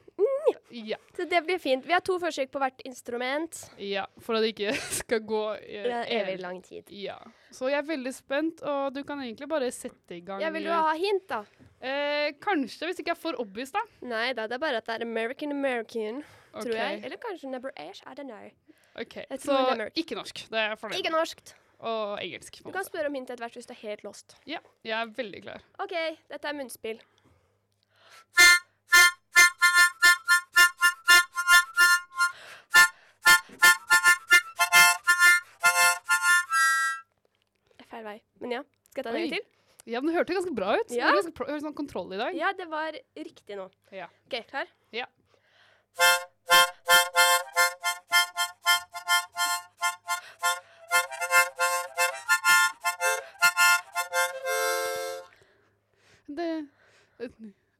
[SPEAKER 2] Ja,
[SPEAKER 3] Så det blir fint. Vi har to forsøk på hvert instrument.
[SPEAKER 2] ja, for at det ikke *laughs* skal gå eh,
[SPEAKER 3] Det er evig
[SPEAKER 2] evig.
[SPEAKER 3] lang tid.
[SPEAKER 2] Ja. Så jeg er veldig spent, og du kan egentlig bare sette i gang.
[SPEAKER 3] Jeg vil jo ha hint, da.
[SPEAKER 2] Eh, kanskje, hvis ikke jeg er for obvious, da.
[SPEAKER 3] Nei da, det er bare at det er American American, tror jeg.
[SPEAKER 2] Ok,
[SPEAKER 3] Eller kanskje Never Ash. I don't know.
[SPEAKER 2] ok.
[SPEAKER 3] Jeg
[SPEAKER 2] Så
[SPEAKER 3] tror det er mørkt.
[SPEAKER 2] ikke norsk. Det er jeg fornøyd
[SPEAKER 3] Ikke
[SPEAKER 2] med.
[SPEAKER 3] norskt.
[SPEAKER 2] Og engelsk. På
[SPEAKER 3] Du
[SPEAKER 2] en
[SPEAKER 3] kan
[SPEAKER 2] måte.
[SPEAKER 3] spørre om hint etter hvert hvis du er helt lost.
[SPEAKER 2] Ja, jeg er veldig klar.
[SPEAKER 3] OK, dette er munnspill. Det er feil vei, men ja. Skal jeg ta det
[SPEAKER 2] Oi.
[SPEAKER 3] en gang til?
[SPEAKER 2] Ja, men Det hørte ganske bra ut.
[SPEAKER 3] Ja.
[SPEAKER 2] Det var ganske pro- ganske sånn kontroll i dag.
[SPEAKER 3] Ja, det var riktig nå.
[SPEAKER 2] Ja.
[SPEAKER 3] OK, klar?
[SPEAKER 2] Ja. Det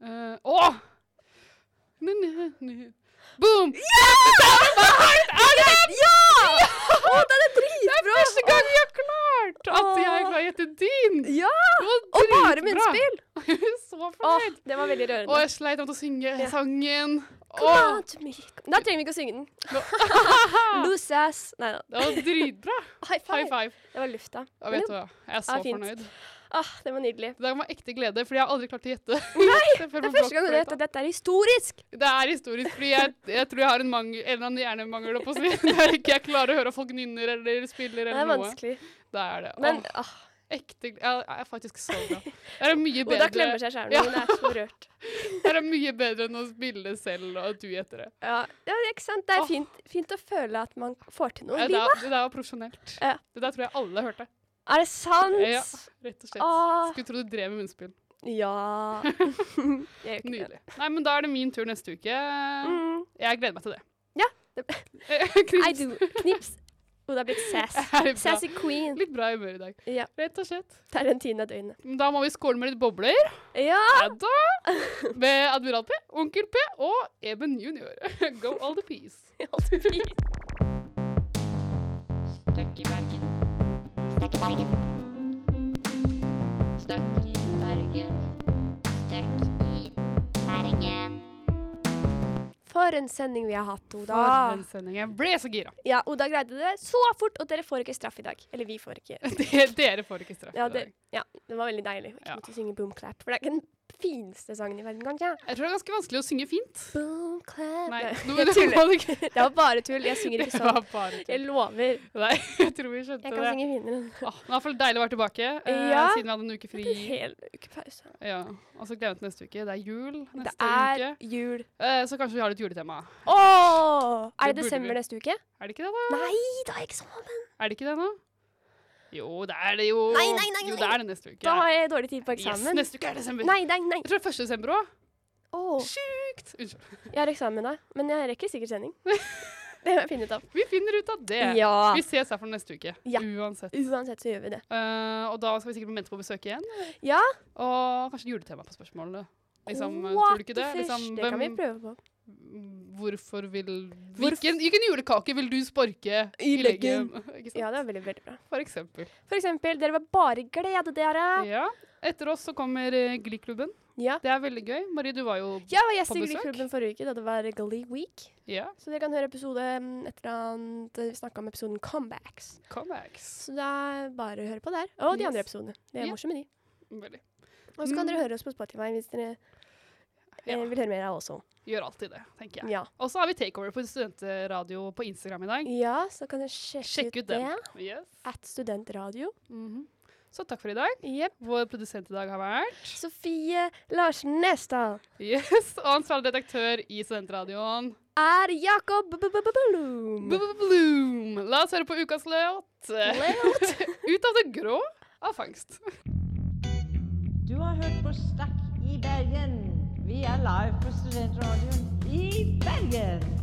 [SPEAKER 2] eh, Å! N- n- n- Boom! *laughs*
[SPEAKER 3] Å, den er dritbra!
[SPEAKER 2] Første gang jeg har klart at jeg klarer å gjette din!
[SPEAKER 3] Ja!
[SPEAKER 2] Det var
[SPEAKER 3] Og bare
[SPEAKER 2] dritbra.
[SPEAKER 3] munnspill!
[SPEAKER 2] *laughs* Jeg er så
[SPEAKER 3] Å,
[SPEAKER 2] fornøyd.
[SPEAKER 3] det var veldig
[SPEAKER 2] Og
[SPEAKER 3] rørende.
[SPEAKER 2] jeg sleit med å synge
[SPEAKER 3] Ja.
[SPEAKER 2] sangen.
[SPEAKER 3] Come
[SPEAKER 2] Åh,
[SPEAKER 3] on to me. Da trenger vi ikke å synge den. *laughs* Loose ass. Nei da.
[SPEAKER 2] det var dritbra.
[SPEAKER 3] High five.
[SPEAKER 2] High five.
[SPEAKER 3] Det var lufta.
[SPEAKER 2] Ja, vet du hva, jeg er så
[SPEAKER 3] Ja, fint.
[SPEAKER 2] fornøyd.
[SPEAKER 3] Ah, det var nydelig.
[SPEAKER 2] Det der var ekte glede, fordi jeg har aldri klart å gjette. *laughs*
[SPEAKER 3] Det er første gang du vet at dette er historisk.
[SPEAKER 2] Det er historisk, fordi jeg, jeg tror jeg har en, mangel, en eller annen hjernemangel oppå *laughs* seg. Der ikke jeg klarer å høre at folk nynner eller spiller
[SPEAKER 3] Det
[SPEAKER 2] eller
[SPEAKER 3] er
[SPEAKER 2] noe.
[SPEAKER 3] vanskelig.
[SPEAKER 2] Det er det.
[SPEAKER 3] Men
[SPEAKER 2] Åh,
[SPEAKER 3] ah,
[SPEAKER 2] ekte glede. Jeg er faktisk så glad. Det er mye
[SPEAKER 3] *laughs* Oda klemmer
[SPEAKER 2] bedre,
[SPEAKER 3] seg sjæl
[SPEAKER 2] Ja.
[SPEAKER 3] nå. Hun er så rørt.
[SPEAKER 2] det er mye bedre enn å spille selv og at du gjetter det.
[SPEAKER 3] *laughs* Ja, ja ikke sant? Det
[SPEAKER 2] Åh.
[SPEAKER 3] er fint, fint å føle at man får til noe
[SPEAKER 2] Ja,
[SPEAKER 3] i
[SPEAKER 2] Det
[SPEAKER 3] livet.
[SPEAKER 2] der, det der var profesjonelt.
[SPEAKER 3] Ja.
[SPEAKER 2] Det der tror jeg alle hørte.
[SPEAKER 3] Er det sant?
[SPEAKER 2] Ja, rett og slett.
[SPEAKER 3] Åh.
[SPEAKER 2] Skulle tro du drev med munnspill. *laughs*
[SPEAKER 3] Ja. jeg gjør ikke det.
[SPEAKER 2] Nydelig. Nei, men da er det min tur neste uke.
[SPEAKER 3] Mm.
[SPEAKER 2] Jeg gleder meg til det.
[SPEAKER 3] Ja, det- I
[SPEAKER 2] Knips.
[SPEAKER 3] do. Knips. Oda er blitt sass.
[SPEAKER 2] *laughs* Er det bra?
[SPEAKER 3] Sassy queen.
[SPEAKER 2] Litt bra humør i dag.
[SPEAKER 3] Ja.
[SPEAKER 2] Rett og slett.
[SPEAKER 3] Tarantina døgnet.
[SPEAKER 2] Da må vi skåle med litt bobler.
[SPEAKER 3] Ja!
[SPEAKER 2] Ja da! Med Admiral P, Onkel P og Eben junior. *laughs* Go all the peace.
[SPEAKER 6] Stuck i Bergen. Stuck i Bergen. Stuck i Bergen.
[SPEAKER 3] For en sending vi har hatt, Oda.
[SPEAKER 2] For en sending. Jeg ble så gira.
[SPEAKER 3] Ja, Oda greide det så fort, og dere får ikke straff i dag. Eller vi får ikke.
[SPEAKER 2] *laughs* Det- Dere får ikke straff i
[SPEAKER 3] Ja,
[SPEAKER 2] dag. *laughs*
[SPEAKER 3] det, ja, det var veldig deilig. Ikke
[SPEAKER 2] Ja.
[SPEAKER 3] måtte synge boom clap, for det er ikke den fineste sangen i verden, kanskje.
[SPEAKER 2] Jeg tror det er ganske vanskelig å synge fint.
[SPEAKER 3] Boom clap.
[SPEAKER 2] Nei,
[SPEAKER 3] Nei,
[SPEAKER 2] nå-
[SPEAKER 3] jeg
[SPEAKER 2] nå
[SPEAKER 3] tuller.
[SPEAKER 2] må du ikke-
[SPEAKER 3] Det var bare tull. Jeg
[SPEAKER 2] *laughs*
[SPEAKER 3] synger
[SPEAKER 2] Det
[SPEAKER 3] ikke sånn.
[SPEAKER 2] var bare
[SPEAKER 3] Jeg
[SPEAKER 2] tull.
[SPEAKER 3] lover.
[SPEAKER 2] Nei, jeg tror vi skjønte
[SPEAKER 3] Jeg kan
[SPEAKER 2] det.
[SPEAKER 3] synge finere.
[SPEAKER 2] Åh, det er i hvert fall deilig å være tilbake eh,
[SPEAKER 3] Ja.
[SPEAKER 2] siden vi hadde en uke
[SPEAKER 3] En
[SPEAKER 2] fri.
[SPEAKER 3] hel uke pause.
[SPEAKER 2] Ja, Og så gleder jeg meg til neste uke. Det er jul
[SPEAKER 3] Det
[SPEAKER 2] neste
[SPEAKER 3] er
[SPEAKER 2] uke.
[SPEAKER 3] jul.
[SPEAKER 2] Eh, så kanskje vi har litt juletema.
[SPEAKER 3] Åh! Er
[SPEAKER 2] Det
[SPEAKER 3] det
[SPEAKER 2] burde vi.
[SPEAKER 3] desember neste uke?
[SPEAKER 2] Er det ikke det, da?
[SPEAKER 3] Nei, det er eksamen!
[SPEAKER 2] Er det ikke det nå? Jo, det er det jo.
[SPEAKER 3] Nei, nei, nei,
[SPEAKER 2] Jo,
[SPEAKER 3] nei.
[SPEAKER 2] det er det neste uke.
[SPEAKER 3] Da har jeg dårlig tid på
[SPEAKER 2] yes,
[SPEAKER 3] eksamen.
[SPEAKER 2] neste uke er desember.
[SPEAKER 3] Nei, nei, nei.
[SPEAKER 2] Jeg tror det er 1. desember òg.
[SPEAKER 3] Åh,
[SPEAKER 2] Sjukt! Unnskyld.
[SPEAKER 3] jeg har eksamen da, men jeg rekker
[SPEAKER 2] *laughs*
[SPEAKER 3] sikkert sending. Det må jeg finne ut av.
[SPEAKER 2] Vi finner ut av det.
[SPEAKER 3] Ja.
[SPEAKER 2] Vi ses her for neste uke.
[SPEAKER 3] Ja.
[SPEAKER 2] Uansett.
[SPEAKER 3] Uansett så gjør vi det.
[SPEAKER 2] Eh, og da skal vi sikkert på Mente på besøk igjen.
[SPEAKER 3] Ja.
[SPEAKER 2] Og kanskje juletema på spørsmålene. Liksom, eh,
[SPEAKER 3] What
[SPEAKER 2] tror du ikke
[SPEAKER 3] the
[SPEAKER 2] det?
[SPEAKER 3] fish?
[SPEAKER 2] Liksom,
[SPEAKER 3] det kan vi
[SPEAKER 2] hvem-
[SPEAKER 3] prøve på.
[SPEAKER 2] Hvorfor vil
[SPEAKER 3] Hvorf-
[SPEAKER 2] hvilken, hvilken julekake vil du sparke i leggen? *laughs* Ikke sant?
[SPEAKER 3] Ja, det var veldig, veldig bra.
[SPEAKER 2] For eksempel.
[SPEAKER 3] For eksempel, dere var bare glede, dere.
[SPEAKER 2] Ja. Etter oss så kommer eh, Gliklubben.
[SPEAKER 3] Ja.
[SPEAKER 2] Det er veldig gøy. Marie, du var jo
[SPEAKER 3] Jeg var gjest
[SPEAKER 2] På
[SPEAKER 3] i
[SPEAKER 2] besøk?
[SPEAKER 3] Glee-klubben forrige uke da det var Glee Week.
[SPEAKER 2] Ja.
[SPEAKER 3] Så dere kan høre episode mm, et eller annet eh, Vi snakka om episoden Comebacks.
[SPEAKER 2] Comebacks.
[SPEAKER 3] Så det er bare å høre på der. Og de
[SPEAKER 2] Yes.
[SPEAKER 3] andre episodene. De er
[SPEAKER 2] Ja.
[SPEAKER 3] morsomme, de.
[SPEAKER 2] Veldig.
[SPEAKER 3] Og så kan
[SPEAKER 2] Mm.
[SPEAKER 3] dere høre oss på Spotify hvis dere eh,
[SPEAKER 2] Ja.
[SPEAKER 3] vil høre mer av oss også.
[SPEAKER 2] Gjør alltid det, tenker jeg.
[SPEAKER 3] Ja.
[SPEAKER 2] Og så har vi takeover på studentradio på Instagram i dag.
[SPEAKER 3] ja, så kan dere sjekke
[SPEAKER 2] Sjekk ut
[SPEAKER 3] det.
[SPEAKER 2] den. Yes.
[SPEAKER 3] At studentradio.
[SPEAKER 2] Mhm. Så takk for i dag.
[SPEAKER 3] Jepp.
[SPEAKER 2] Vår produsent i dag har vært
[SPEAKER 3] Sofie Larsen Nesdal
[SPEAKER 2] Yes, og ansvarlig redaktør i Studentradioen.
[SPEAKER 3] er Jakob B-b-b-Blom.
[SPEAKER 2] Bloom! La oss høre på ukas låt. *laughs* Ut av det grå av fangst.
[SPEAKER 7] Du har hørt på Stakk i Bergen. Vi er live på Studentradioen i Bergen.